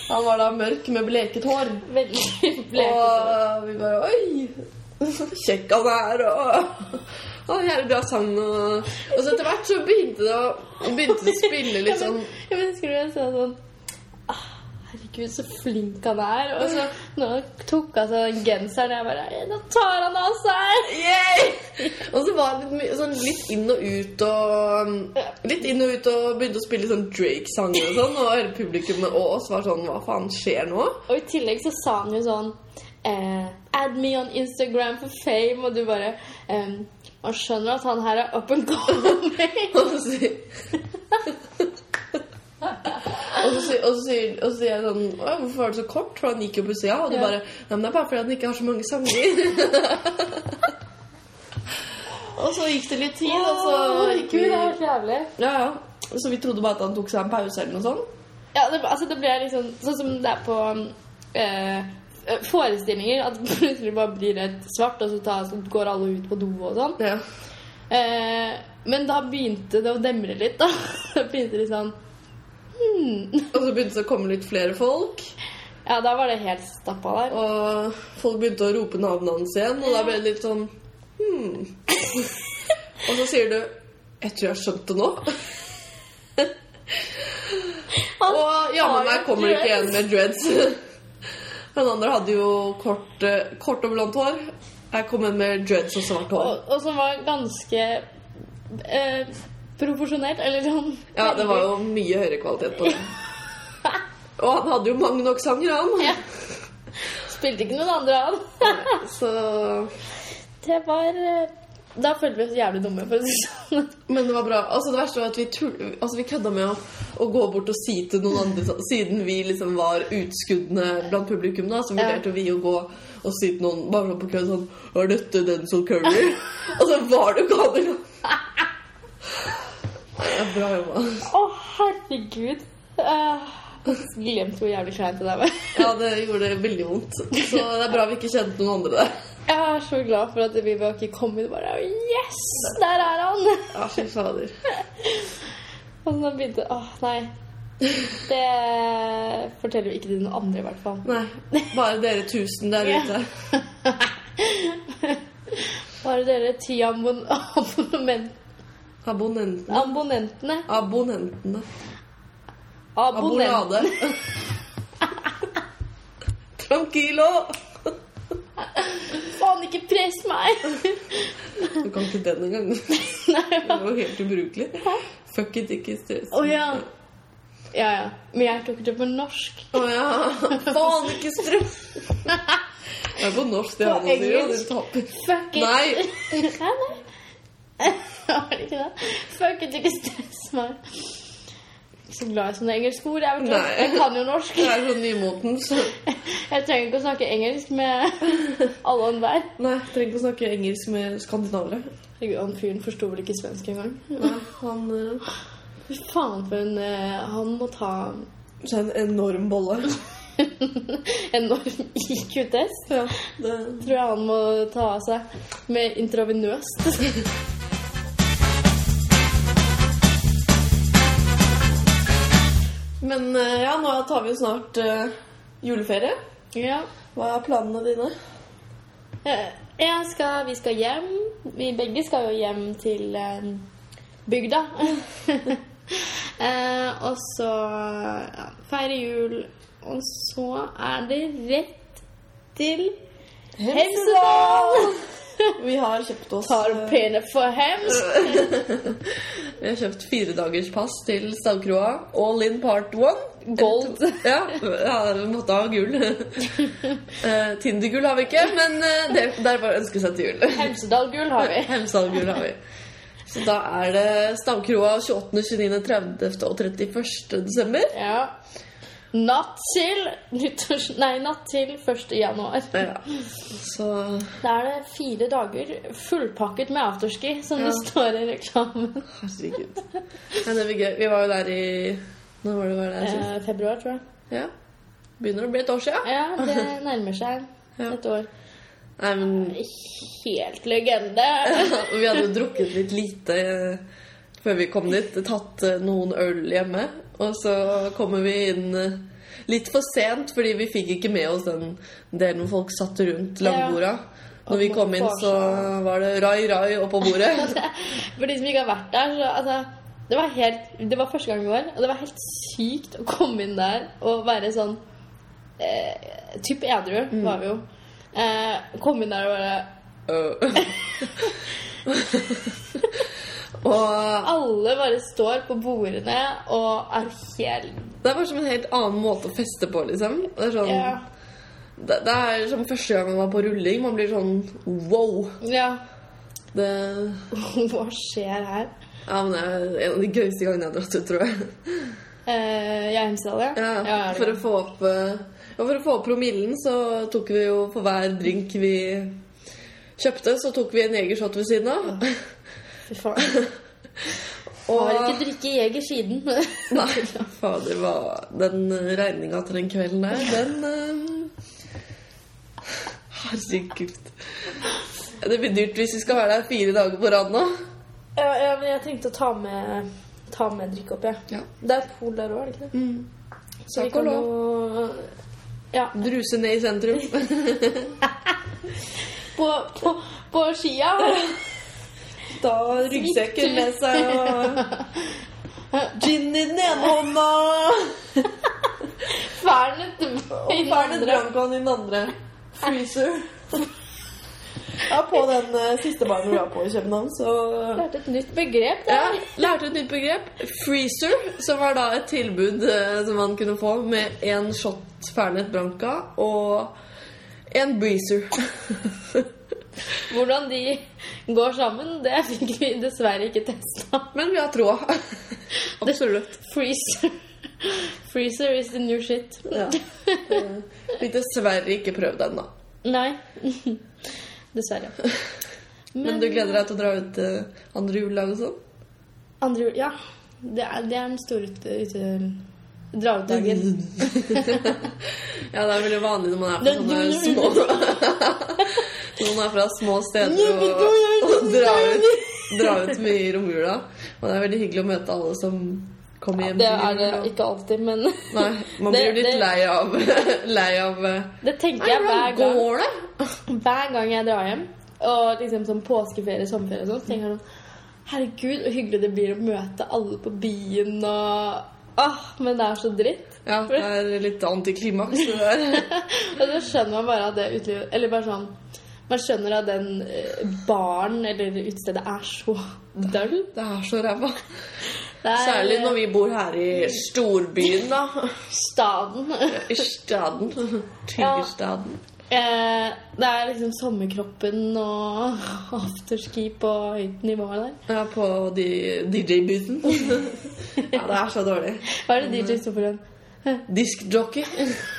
[SPEAKER 2] han var da mørk med bleket hår.
[SPEAKER 1] Veldig blekete.
[SPEAKER 2] Og eh, vi bare Oi! så Kjekk han er, og han er bra sang. Og, og så etter hvert så begynte det å begynte det å spille litt sånn
[SPEAKER 1] Jeg men, husker du jeg sa sånn «Ah, Herregud, så flink han er. Og så når han tok av seg den genseren, jeg bare «Ja, Nå tar han av seg!
[SPEAKER 2] Yay! Og så var det litt, my- sånn litt inn og ut og um, Litt inn og ut og begynte å spille sånn Drake-sanger og sånn. Og hele publikummet og oss var sånn Hva faen skjer nå?
[SPEAKER 1] Og i tillegg så sa han jo sånn eh, Add me on Instagram for fame. Og du bare ehm, Man skjønner at han her er up and coming.
[SPEAKER 2] Og så sier og så, sier- og, så sier, og så sier jeg sånn «Å, Hvorfor var det så kort? For han gikk jo på sida. Og du
[SPEAKER 1] Ja.
[SPEAKER 2] bare Nei, men det er bare fordi han ikke har så mange sanger. og så gikk det litt tid, og så gikk vi
[SPEAKER 1] Herregud, det er så jævlig.
[SPEAKER 2] Ja, ja. Så vi trodde bare at han tok seg en pause eller noe sånt.
[SPEAKER 1] Ja, det, altså det ble liksom sånn som det er på eh, forestillinger, at det plutselig bare blir helt svart, og så, tar, så går alle ut på do og sånn.
[SPEAKER 2] Ja.
[SPEAKER 1] Eh, men da begynte det å demre litt, da. Da begynte det sånn
[SPEAKER 2] Og så begynte det å komme litt flere folk.
[SPEAKER 1] Ja, da var det helt stappa der.
[SPEAKER 2] Og folk begynte å rope navnet hans igjen, og da ble det litt sånn hmm. Og så sier du 'Jeg tror jeg har skjønt det nå'. Og jammen meg kommer det ikke igjen med dreads. Den andre hadde jo kort, eh, kort og blondt hår. Her kom en med dreads og svart hår.
[SPEAKER 1] Og, og som var ganske eh, proporsjonert, eller sånn.
[SPEAKER 2] Ja, det var jo mye høyere kvalitet på det. Og han hadde jo mange nok sanger, han.
[SPEAKER 1] Ja. Spilte ikke noen andre av.
[SPEAKER 2] Så
[SPEAKER 1] Det var eh, Da følte vi oss jævlig dumme, for å si det sånn.
[SPEAKER 2] Men det var bra. Altså Det verste var at vi, tull, altså, vi kødda med å, å gå bort og si til noen andre sånn, Siden vi liksom var utskuddene blant publikum, da, så
[SPEAKER 1] Ja.
[SPEAKER 2] vurderte vi å gå og si til noen bare sånn på køen sånn Er dette Denzel Curry? og så var det jo ikke han engang! Det er Bra jobba.
[SPEAKER 1] Å, herregud. Eh, glemt hvor jævlig kleint det der var.
[SPEAKER 2] Ja, det gjorde veldig vondt. Så det er bra vi ikke kjente noen andre der.
[SPEAKER 1] Jeg er så glad for at vi bare ikke kom hit og bare Yes! Der er han!
[SPEAKER 2] Ja, fy fader.
[SPEAKER 1] Og så begynte Åh, nei. Det forteller vi ikke til noen andre, i hvert fall.
[SPEAKER 2] Nei, bare dere tusen der
[SPEAKER 1] Ja.
[SPEAKER 2] ute.
[SPEAKER 1] Bare dere ti abon abonnement-
[SPEAKER 2] Abonnenten.
[SPEAKER 1] abonnentene
[SPEAKER 2] Abonnentene.
[SPEAKER 1] Abonnent.
[SPEAKER 2] Abonade. Tranquilo!
[SPEAKER 1] Faen, ikke press meg!
[SPEAKER 2] Du kan ikke den engang.
[SPEAKER 1] Nei,
[SPEAKER 2] Det var helt ubrukelig. Fuck it, ikke stress.
[SPEAKER 1] Å ja. Ja, ja. Men jeg tok det på norsk.
[SPEAKER 2] Å ja. Faen, ikke stress! Det er på norsk, det
[SPEAKER 1] På
[SPEAKER 2] han sier. og
[SPEAKER 1] engelsk.
[SPEAKER 2] du taper.
[SPEAKER 1] Fuck it.
[SPEAKER 2] Nei.
[SPEAKER 1] Hæ, nei? Var det ikke det? Fuck it, ikke stress meg. Ikke så glad i sånne engelske ord. Jeg, vet
[SPEAKER 2] Nei.
[SPEAKER 1] du. jeg kan jo norsk.
[SPEAKER 2] Det er sånn nymotens.
[SPEAKER 1] Jeg trenger ikke å snakke engelsk med alle og enhver.
[SPEAKER 2] Nei, trenger ikke å snakke engelsk med skandinavere.
[SPEAKER 1] Herregud, Han fyren forsto vel ikke svensk engang.
[SPEAKER 2] Nei, han eh,
[SPEAKER 1] Fy faen for en eh, Han må ta
[SPEAKER 2] så er en enorm bolle.
[SPEAKER 1] enorm IQ-test.
[SPEAKER 2] Ja, det
[SPEAKER 1] Tror jeg han må ta av seg med intravenøst.
[SPEAKER 2] Men eh, ja, nå tar vi jo snart eh, juleferie.
[SPEAKER 1] Ja.
[SPEAKER 2] Hva er planene dine?
[SPEAKER 1] Eh, Jeg skal, vi skal hjem. Vi begge skal jo hjem til eh, bygda. Eh, og så ja, feire jul. Og så er det rett til Hemsedal!
[SPEAKER 2] Vi har kjøpt oss
[SPEAKER 1] Tar
[SPEAKER 2] eh,
[SPEAKER 1] pinne for hems.
[SPEAKER 2] Vi har kjøpt firedagerspass til Stavkroa. All in part one.
[SPEAKER 1] Gold.
[SPEAKER 2] Ja, ja vi måtte ha gull. Eh, Tindergull har vi ikke, men eh, det, det er bare å ønske seg til jul.
[SPEAKER 1] Hemsedal-gull har vi.
[SPEAKER 2] Hemsedal-gull har vi. Så da er det Stavkroa 28., 29., 30. og 31. desember.
[SPEAKER 1] Ja. Natt til nyttårs... Nei, natt til 1. januar.
[SPEAKER 2] Ja, så
[SPEAKER 1] Da er det fire dager fullpakket med afterski, som
[SPEAKER 2] Ja.
[SPEAKER 1] det står i reklamen.
[SPEAKER 2] Herregud. Men det blir gøy. Vi var jo der i Når var det vi var der sist?
[SPEAKER 1] Eh, februar, tror jeg.
[SPEAKER 2] Ja. Begynner å bli et år siden.
[SPEAKER 1] Ja, det nærmer seg
[SPEAKER 2] Ja.
[SPEAKER 1] et år.
[SPEAKER 2] Nei, men
[SPEAKER 1] Helt legende!
[SPEAKER 2] Vi hadde jo drukket litt lite eh, før vi kom dit. Tatt eh, noen øl hjemme. Og så kommer vi inn eh, litt for sent, fordi vi fikk ikke med oss den delen hvor folk satt rundt langborda. Når vi kom inn, så var det rai, rai oppå bordet.
[SPEAKER 1] For de som ikke har vært der, så altså Det var, helt, det var første gang vi var, og det var helt sykt å komme inn der og være sånn eh, Typ edru
[SPEAKER 2] Mm.
[SPEAKER 1] var vi jo. Eh, komme inn der og bare
[SPEAKER 2] Øh. og
[SPEAKER 1] Alle bare står på bordene og er helt
[SPEAKER 2] det er bare som en helt annen måte å feste på, liksom. Det er, sånn,
[SPEAKER 1] Ja.
[SPEAKER 2] det, det er som første gang man var på rulling. Man blir sånn wow.
[SPEAKER 1] ja.
[SPEAKER 2] Det
[SPEAKER 1] Hva skjer her?
[SPEAKER 2] Ja, men det er en av de gøyeste gangene jeg har dratt ut, tror jeg.
[SPEAKER 1] Eh, jeg er Hemsedal, ja.
[SPEAKER 2] Ja,
[SPEAKER 1] ja er det
[SPEAKER 2] for, å få opp, eh, ja, for å få opp promillen, så tok vi jo for hver drink vi kjøpte, så tok vi en jegershot ved siden av.
[SPEAKER 1] Fy faen.
[SPEAKER 2] Og
[SPEAKER 1] Har ikke drikket Jeger siden.
[SPEAKER 2] Nei, fader, hva Den regninga til den kvelden der, den eh, Herregud. Det blir dyrt hvis vi skal være der fire dager på rad nå.
[SPEAKER 1] ja, ja, men jeg tenkte å ta med, ta med drikke opp, jeg.
[SPEAKER 2] Ja.
[SPEAKER 1] Det er et pol der òg, er det ikke det?
[SPEAKER 2] Mm.
[SPEAKER 1] Så vi kan jo Ja.
[SPEAKER 2] Druse ned i sentrum.
[SPEAKER 1] På, på, på skia.
[SPEAKER 2] Da har ryggsekken med seg og gin i den ene hånda
[SPEAKER 1] Fernet
[SPEAKER 2] og fernet brankan i den andre. Freezer. Ja, på den eh, siste baren vi var på i København, så
[SPEAKER 1] Lærte et nytt begrep
[SPEAKER 2] ja,
[SPEAKER 1] der.
[SPEAKER 2] lærte et nytt begrep. Freezer, som var da et tilbud eh, som man kunne få med én shot fernet branca og en breezer.
[SPEAKER 1] Hvordan de går sammen, det fikk vi dessverre ikke testa.
[SPEAKER 2] Men vi har troa. Absolutt.
[SPEAKER 1] Freezer. Freezer is the new shit.
[SPEAKER 2] Ja. Eh, Vi dessverre ikke prøvd ennå.
[SPEAKER 1] Nei. Dessverre.
[SPEAKER 2] Men du gleder deg til å dra ut eh, andre juledag og sånn?
[SPEAKER 1] Andre jul, ja. Det er, det er den store ute... ute Dra-ut-dagen.
[SPEAKER 2] ja, det er veldig vanlig når man er
[SPEAKER 1] Det-
[SPEAKER 2] fra sånne små Når man er fra små steder og, og drar ut, drar ut mye i romjula. Og det er veldig hyggelig å møte alle som kommer hjem
[SPEAKER 1] Det
[SPEAKER 2] til
[SPEAKER 1] er det
[SPEAKER 2] jul. og-
[SPEAKER 1] ikke alltid, men
[SPEAKER 2] Nei, man
[SPEAKER 1] Det-
[SPEAKER 2] blir litt
[SPEAKER 1] det-
[SPEAKER 2] lei av, lei av eh,
[SPEAKER 1] det tenker
[SPEAKER 2] Nei,
[SPEAKER 1] jeg hver
[SPEAKER 2] hvordan
[SPEAKER 1] gang.
[SPEAKER 2] går det?
[SPEAKER 1] Hver gang jeg drar hjem, og liksom sånn påskeferie, sommerferie og sånn, så tenker jeg sånn Herregud, så hyggelig det blir å møte alle på byen og Åh, men det er så dritt.
[SPEAKER 2] Ja, det er litt antiklimaks. det der.
[SPEAKER 1] Og så skjønner man bare at det utelivet Eller bare sånn Man skjønner at den eh, baren eller utestedet er så døll.
[SPEAKER 2] Det er så ræva.
[SPEAKER 1] Det er
[SPEAKER 2] Særlig når vi bor her i storbyen, da.
[SPEAKER 1] staden.
[SPEAKER 2] I staden. Tyggerstaden.
[SPEAKER 1] Eh, det er liksom sommerkroppen og afterski på høyt nivå der.
[SPEAKER 2] Ja, på DJ-booten. Ja, det er så dårlig.
[SPEAKER 1] Hva er det DJ står for igjen?
[SPEAKER 2] Diskjockey.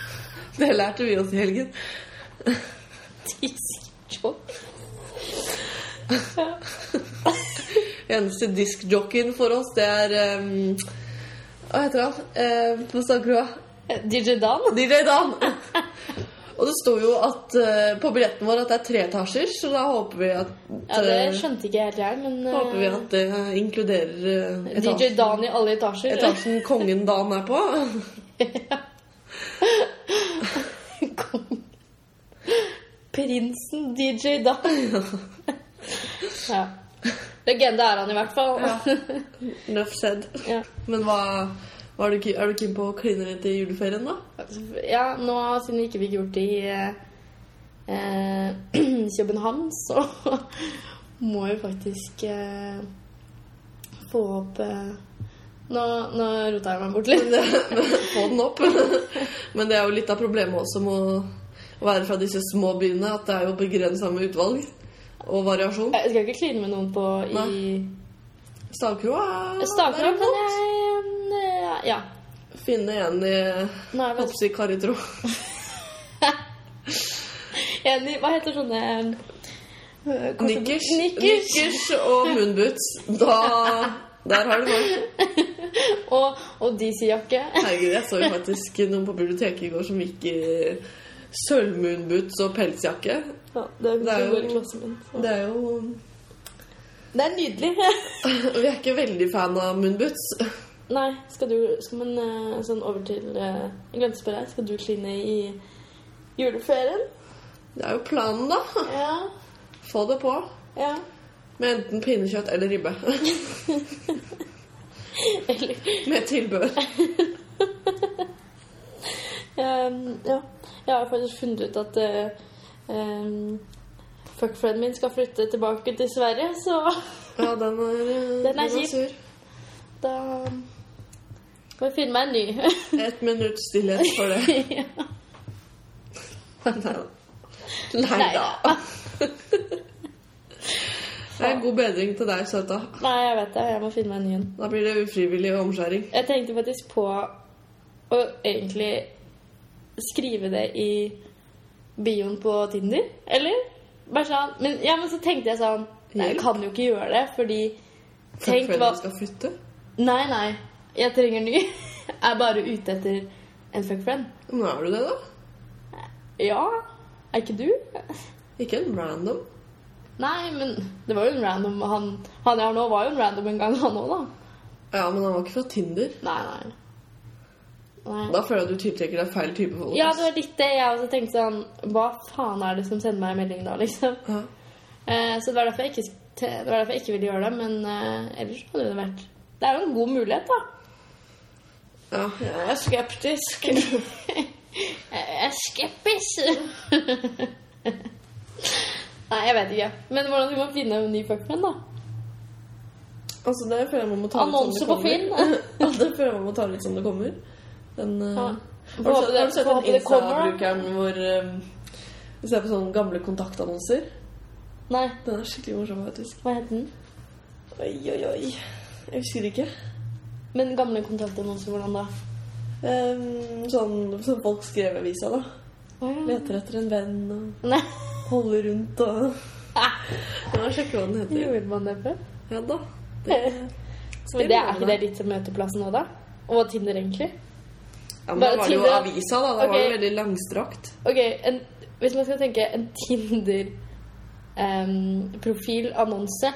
[SPEAKER 2] Det lærte vi oss i helgen.
[SPEAKER 1] Diskjobb?
[SPEAKER 2] Eneste diskjockeyen for oss, det er ehm, Hva heter han? Eh, Hva snakker du om?
[SPEAKER 1] Eh, DJ Dan?
[SPEAKER 2] DJ Dan! Og det sto jo at, eh, på billetten vår at det er tre etasjer, så da håper vi at
[SPEAKER 1] Ja, det
[SPEAKER 2] eh,
[SPEAKER 1] skjønte ikke helt jeg, men eh,
[SPEAKER 2] Håper vi at det inkluderer eh,
[SPEAKER 1] DJ
[SPEAKER 2] etasjen,
[SPEAKER 1] Dan i alle etasjer.
[SPEAKER 2] etasjen kongen Dan er på.
[SPEAKER 1] Kong. Prinsen DJ Dan. ja. Legende er han i hvert fall.
[SPEAKER 2] Nuff said.
[SPEAKER 1] Ja.
[SPEAKER 2] Men hva, hva er, du, ki- er du keen på å kline litt i juleferien, da?
[SPEAKER 1] ja, nå siden vi ikke fikk gjort det i eh, eh, København, så må vi faktisk eh, få opp eh, Nå, nå rota jeg meg bort litt.
[SPEAKER 2] Få den opp. Men det er jo litt av problemet også med å være fra disse små byene, at det er jo begrensa med utvalg og variasjon.
[SPEAKER 1] Jeg skal ikke kline med noen på i
[SPEAKER 2] Stavkroa er-
[SPEAKER 1] Stavkroa,
[SPEAKER 2] er
[SPEAKER 1] men
[SPEAKER 2] godt.
[SPEAKER 1] jeg eh, Ja.
[SPEAKER 2] Finne en i
[SPEAKER 1] Nå er vel
[SPEAKER 2] Hoppsi Karitro.
[SPEAKER 1] enig Hva heter sånne eh, korte-
[SPEAKER 2] Nikkers.
[SPEAKER 1] Nikkers.
[SPEAKER 2] Nikkers og moonboots. Da Der har du meg.
[SPEAKER 1] Og, og DC-jakke.
[SPEAKER 2] Herregud, jeg så jo faktisk noen på biblioteket i går som gikk i sølvmoonboots og pelsjakke.
[SPEAKER 1] Ja, det
[SPEAKER 2] Det er jo-
[SPEAKER 1] går i klassen min. så.
[SPEAKER 2] Det er jo
[SPEAKER 1] Det er nydelig.
[SPEAKER 2] Vi er ikke veldig fan av moonboots.
[SPEAKER 1] Nei, skal du skal man, eh, sånn over til eh, Jeg glemte å spørre deg. Skal du kline i juleferien?
[SPEAKER 2] Det er jo planen, da.
[SPEAKER 1] Ja.
[SPEAKER 2] Få det på.
[SPEAKER 1] ja.
[SPEAKER 2] Med enten pinnekjøtt eller ribbe.
[SPEAKER 1] Eller
[SPEAKER 2] Med tilbør.
[SPEAKER 1] ehm, Ja. Jeg har faktisk funnet ut at eh, ehm, fuckfrienden min skal flytte tilbake til Sverige, så
[SPEAKER 2] Ja, den er, eh,
[SPEAKER 1] Den er kjip.
[SPEAKER 2] sur.
[SPEAKER 1] da må jeg finne meg en ny.
[SPEAKER 2] Et minutts stillhet for det.
[SPEAKER 1] Ja.
[SPEAKER 2] Nei da. Nei da. Det er god bedring til deg, søta.
[SPEAKER 1] Nei, jeg vet det. Jeg må finne meg en ny en.
[SPEAKER 2] Da blir det ufrivillig omskjæring.
[SPEAKER 1] Jeg tenkte faktisk på å egentlig skrive det i bioen på Tinder, eller? Bare sånn. Men, ja, men så tenkte jeg sånn Nei, jeg
[SPEAKER 2] Hjelp.
[SPEAKER 1] kan jo ikke gjøre det, fordi Tenk
[SPEAKER 2] Før
[SPEAKER 1] hva
[SPEAKER 2] du skal flytte.
[SPEAKER 1] Nei, nei. Jeg trenger ny. Jeg er bare ute etter en fuck friend.
[SPEAKER 2] Men er du det, da?
[SPEAKER 1] Ja. Er ikke du?
[SPEAKER 2] Ikke en random.
[SPEAKER 1] Nei, men det var jo en random Han, han jeg har nå, var jo en random en gang, han òg, da.
[SPEAKER 2] Ja, men han var ikke fra Tinder.
[SPEAKER 1] Nei, nei. nei.
[SPEAKER 2] Da føler jeg at du tiltrekker deg feil type folk.
[SPEAKER 1] Ja, det var litt det jeg også tenkte sånn Hva faen er det som sender meg en melding da, liksom?
[SPEAKER 2] Ja.
[SPEAKER 1] Eh, så det var, derfor jeg ikke, sk- te- det var derfor jeg ikke ville gjøre det, men eh, ellers hadde det vært Det er jo en god mulighet, da.
[SPEAKER 2] Ja, jeg er skeptisk.
[SPEAKER 1] Jeg er skeptisk. Nei, jeg vet ikke. Men hvordan skal man finne en ny fuckman, da?
[SPEAKER 2] Altså, det føler jeg man må ta
[SPEAKER 1] Annonse
[SPEAKER 2] litt
[SPEAKER 1] på
[SPEAKER 2] som det
[SPEAKER 1] Finn.
[SPEAKER 2] kommer. det føler jeg man må ta litt som det kommer. Den, eh,
[SPEAKER 1] Ja.
[SPEAKER 2] Har du sett, har du
[SPEAKER 1] Får
[SPEAKER 2] sett
[SPEAKER 1] håpe
[SPEAKER 2] den
[SPEAKER 1] det kommer, da.
[SPEAKER 2] Insta-brukeren hvor eh, Du ser på sånne gamle kontaktannonser?
[SPEAKER 1] Nei,
[SPEAKER 2] Den er skikkelig morsom, faktisk.
[SPEAKER 1] hva het den?
[SPEAKER 2] Oi, oi, oi. Jeg husker ikke.
[SPEAKER 1] Men gamle kontaktannonser, hvordan da?
[SPEAKER 2] Ehm, sånn som folk skrev i avisa, da. Leter etter en venn og
[SPEAKER 1] Nei,
[SPEAKER 2] holder rundt og Ja, sjekke hva den heter.
[SPEAKER 1] gjorde man det før?
[SPEAKER 2] Ja da.
[SPEAKER 1] Men det er ikke det litt møteplassen nå, da? Og Tinder, egentlig?
[SPEAKER 2] Ja, men
[SPEAKER 1] Bare
[SPEAKER 2] da var det jo
[SPEAKER 1] Tinder, da.
[SPEAKER 2] avisa, da. Da var
[SPEAKER 1] Ok.
[SPEAKER 2] det veldig langstrakt.
[SPEAKER 1] Ok, en, hvis man skal tenke en Tinder-profilannonse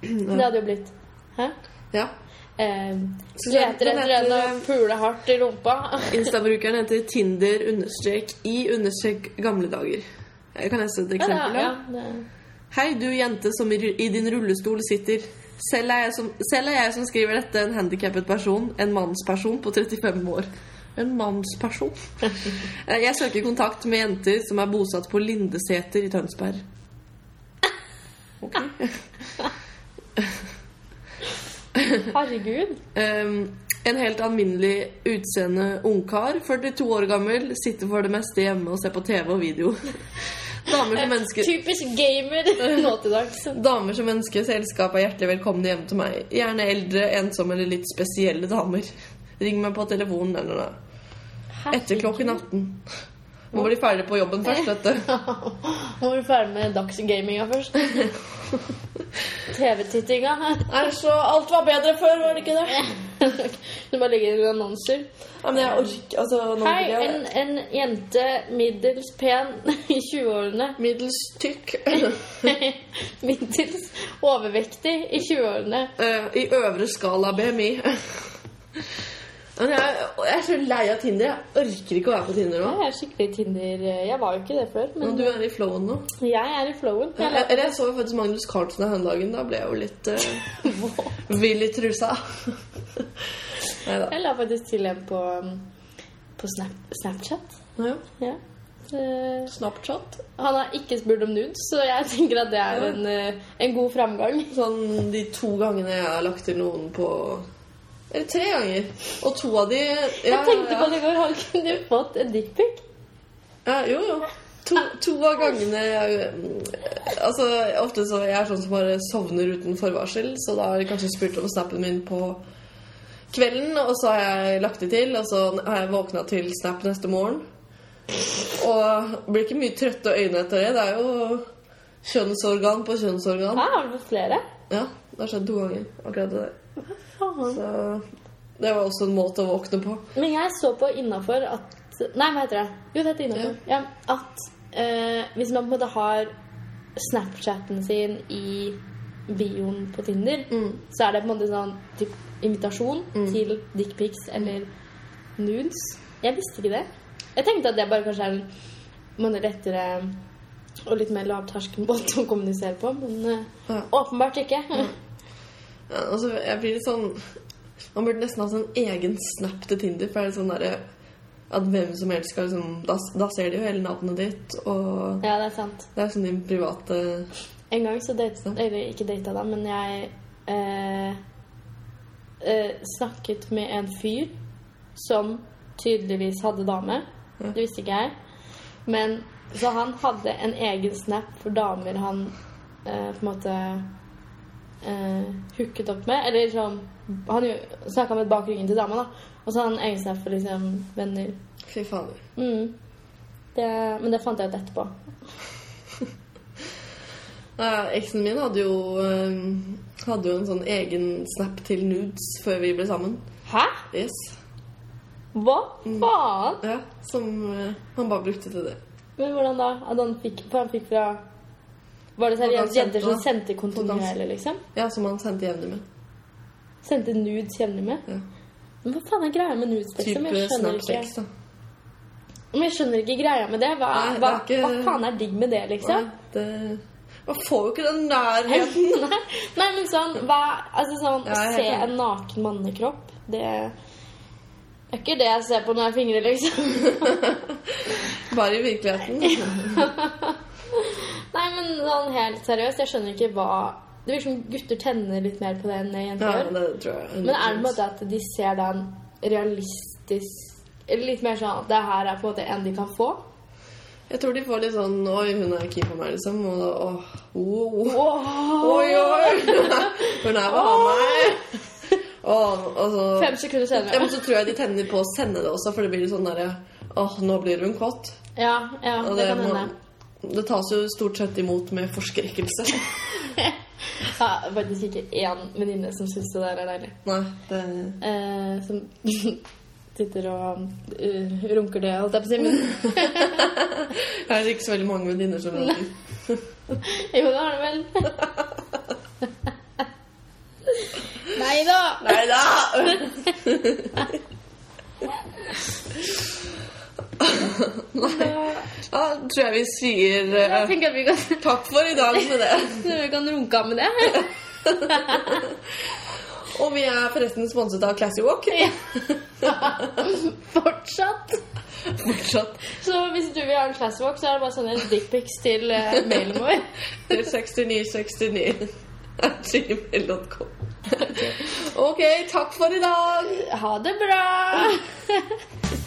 [SPEAKER 1] Det hadde jo blitt Hæ?
[SPEAKER 2] Ja.
[SPEAKER 1] Em,
[SPEAKER 2] Så
[SPEAKER 1] leter
[SPEAKER 2] den
[SPEAKER 1] etter en
[SPEAKER 2] heter-
[SPEAKER 1] og puler hardt i rumpa.
[SPEAKER 2] Instabrukeren heter Tinder understrek i understrek gamle dager. Jeg kan lese et eksempel. da.
[SPEAKER 1] ja, det,
[SPEAKER 2] Hei, du jente som i, ru- i din rullestol sitter. Selv er, jeg som, selv er jeg som skriver dette, en handikappet person. En mannsperson på 35 år. En mannsperson? Eh, Jeg søker kontakt med jenter som er bosatt på Lindeseter i Tønsberg.
[SPEAKER 1] herregud.
[SPEAKER 2] Um, en helt alminnelig utseende ungkar, 42 år gammel, sitter for det meste hjemme og ser på TV og video. Damer
[SPEAKER 1] Eh,
[SPEAKER 2] som ønsker
[SPEAKER 1] Typisk gamer nå til dags.
[SPEAKER 2] Damer som ønsker selskap er hjertelig velkomne hjem til meg. Gjerne eldre, ensomme eller litt spesielle damer. Ring meg på telefonen eller noe. Etter klokken 18. Må bli ferdig på jobben først, dette.
[SPEAKER 1] Må vi ferdig med dagsgaminga først? TV-tittinga.
[SPEAKER 2] Nei, så alt var bedre før, var det ikke det?
[SPEAKER 1] Du bare legger inn annonser.
[SPEAKER 2] Ja, men jeg orker Altså, nå
[SPEAKER 1] Hei,
[SPEAKER 2] blir jeg
[SPEAKER 1] en, en jente middels pen i 20-årene.
[SPEAKER 2] middels tykk.
[SPEAKER 1] middels overvektig i 20-årene.
[SPEAKER 2] Eh, I øvre skala BMI. Men jeg, jeg er så lei av Tinder. Jeg orker ikke å være på Tinder nå.
[SPEAKER 1] Jeg er skikkelig Tinder eh, Jeg var jo ikke det før,
[SPEAKER 2] Men
[SPEAKER 1] men
[SPEAKER 2] du er i flowen nå.
[SPEAKER 1] jeg er i flowen. Jeg
[SPEAKER 2] Eller eller jeg så jo faktisk Magnus Carlsen her en dagen. Da ble jeg jo litt eh,
[SPEAKER 1] la,
[SPEAKER 2] Vill i trusa. Nei da.
[SPEAKER 1] jeg la faktisk til en på, um, på Snap, Snapchat. Ja. Eh,
[SPEAKER 2] Snapchat.
[SPEAKER 1] han har ikke spurt om nudes, så jeg tenker at det er
[SPEAKER 2] Ja.
[SPEAKER 1] en, eh, en god framgang.
[SPEAKER 2] Sånn de to gangene jeg har lagt til noen på Eller tre ganger. Og to av de ja,
[SPEAKER 1] Jeg tenkte
[SPEAKER 2] ja,
[SPEAKER 1] på det i går. Han kunne jo fått en dickpic.
[SPEAKER 2] ja, Jo, jo. To, to av gangene jeg, Altså, ofte så Jeg er sånn som bare sovner uten forvarsel, så da har de kanskje spurt om snappen min på kvelden, og så har jeg lagt det til, og så har jeg våkna til snap neste morgen. Og blir ikke mye trøtte øyne etter det. Det er jo kjønnsorgan på kjønnsorgan.
[SPEAKER 1] Hæ, har du fått flere?
[SPEAKER 2] Ja, det har skjedd to ganger, akkurat det der.
[SPEAKER 1] Faen.
[SPEAKER 2] Så det var også en måte å våkne på.
[SPEAKER 1] Men jeg så på innafor at Nei, hva heter det? Jo, det heter innafor. Ja. at eh, hvis man på en måte har Snapchaten sin i bioen på Tinder, så er det på en måte sånn typ, invitasjon til dickpics eller nudes. Jeg visste ikke det. Jeg tenkte at det bare kanskje er en måte lettere og litt mer lavterskelmåte å kommunisere på, men eh,
[SPEAKER 2] Ja.
[SPEAKER 1] åpenbart ikke.
[SPEAKER 2] Ja, altså, jeg blir litt sånn Man burde nesten hatt en egen snap til Tinder. For det er litt sånn derre at hvem som helst skal liksom Da, da ser de jo hele navnet ditt, og
[SPEAKER 1] ja, det er sant.
[SPEAKER 2] det er sånn din private
[SPEAKER 1] En gang så date, eller ikke data da, men jeg eh, eh, snakket med en fyr som tydeligvis hadde dame. Det visste ikke jeg. Men så han hadde en egen snap for damer han eh, på en måte eh, hooket opp med. Eller sånn Han snakka med bak ryggen til dama, da. Og så hadde han en egen snap for liksom venner.
[SPEAKER 2] Fy fader.
[SPEAKER 1] Mm. Det, men det fant jeg ut etterpå.
[SPEAKER 2] Ja, Eksen min hadde jo eh, Hadde jo en sånn egen snap til nudes før vi ble sammen.
[SPEAKER 1] Hæ?
[SPEAKER 2] Yes.
[SPEAKER 1] Hva faen?
[SPEAKER 2] Ja, som eh, han bare brukte til det.
[SPEAKER 1] Men hvordan da? At han fikk, for han fikk fra Var det
[SPEAKER 2] Hvordan
[SPEAKER 1] seriøst
[SPEAKER 2] sendte
[SPEAKER 1] jenter som
[SPEAKER 2] han?
[SPEAKER 1] sendte
[SPEAKER 2] Hvordan-
[SPEAKER 1] kontinuerlig, liksom?
[SPEAKER 2] Ja, som han sendte jevnlig med.
[SPEAKER 1] Sendte nudes jevnlig med?
[SPEAKER 2] Ja.
[SPEAKER 1] Men hva faen er greia med nudes, liksom?
[SPEAKER 2] Type
[SPEAKER 1] Jeg skjønner ikke,
[SPEAKER 2] Snapsex, da.
[SPEAKER 1] men jeg skjønner ikke greia med det. Hva,
[SPEAKER 2] Nei, det er
[SPEAKER 1] hva,
[SPEAKER 2] ikke-
[SPEAKER 1] hva faen er digg med det, liksom?
[SPEAKER 2] Nei, det... Man får jo ikke den nærheten.
[SPEAKER 1] Nei, nei, men sånn, hva, altså sånn
[SPEAKER 2] Ja, jeg er
[SPEAKER 1] Å se
[SPEAKER 2] helt enig.
[SPEAKER 1] en naken mannekropp, det er ikke det jeg ser på når jeg fingrer, liksom.
[SPEAKER 2] Bare i virkeligheten.
[SPEAKER 1] Nei, men sånn helt seriøst, jeg skjønner ikke hva Det virker som gutter tenner litt mer på det enn jenter
[SPEAKER 2] Ja,
[SPEAKER 1] gjør.
[SPEAKER 2] det tror jeg.
[SPEAKER 1] Men er det på en måte at de ser da en realistisk Eller litt mer sånn at det her er på en måte en de kan få?
[SPEAKER 2] Jeg tror de får litt sånn Oi, hun er keen på meg, liksom. Og da åh, oh, oh.
[SPEAKER 1] Wow.
[SPEAKER 2] Oi, oi! Hun er hva har meg. Og, og så,
[SPEAKER 1] Fem sekunder
[SPEAKER 2] ja, men
[SPEAKER 1] senere.
[SPEAKER 2] så tror jeg de tenner på å sende det også, for det blir litt sånn derre Åh, nå blir hun kåt.
[SPEAKER 1] Ja, ja
[SPEAKER 2] Og
[SPEAKER 1] det kan
[SPEAKER 2] må-
[SPEAKER 1] hende.
[SPEAKER 2] det tas jo stort sett imot med forskrekkelse.
[SPEAKER 1] Ja, faktisk ikke én venninne som syns det der er deilig.
[SPEAKER 2] Nei, det
[SPEAKER 1] Eh, som sitter og uh, runker det, holdt jeg på å si. Men
[SPEAKER 2] Jeg har ikke så veldig mange venninner som gjør det.
[SPEAKER 1] jo, det har det vel. Nei da!
[SPEAKER 2] Nei da! Da tror jeg vi sier eh,
[SPEAKER 1] Jeg tenker at vi kan,
[SPEAKER 2] takk for i dag med det.
[SPEAKER 1] vi kan runke av med det.
[SPEAKER 2] Og vi er forresten sponset av Classy Walk.
[SPEAKER 1] Fortsatt.
[SPEAKER 2] Fortsatt
[SPEAKER 1] Så hvis du vil ha en classwalk, så er det bare å sende dickpics til eh, mailen vår.
[SPEAKER 2] 6969 gmail.com. Ok, takk for i dag.
[SPEAKER 1] Ha det bra!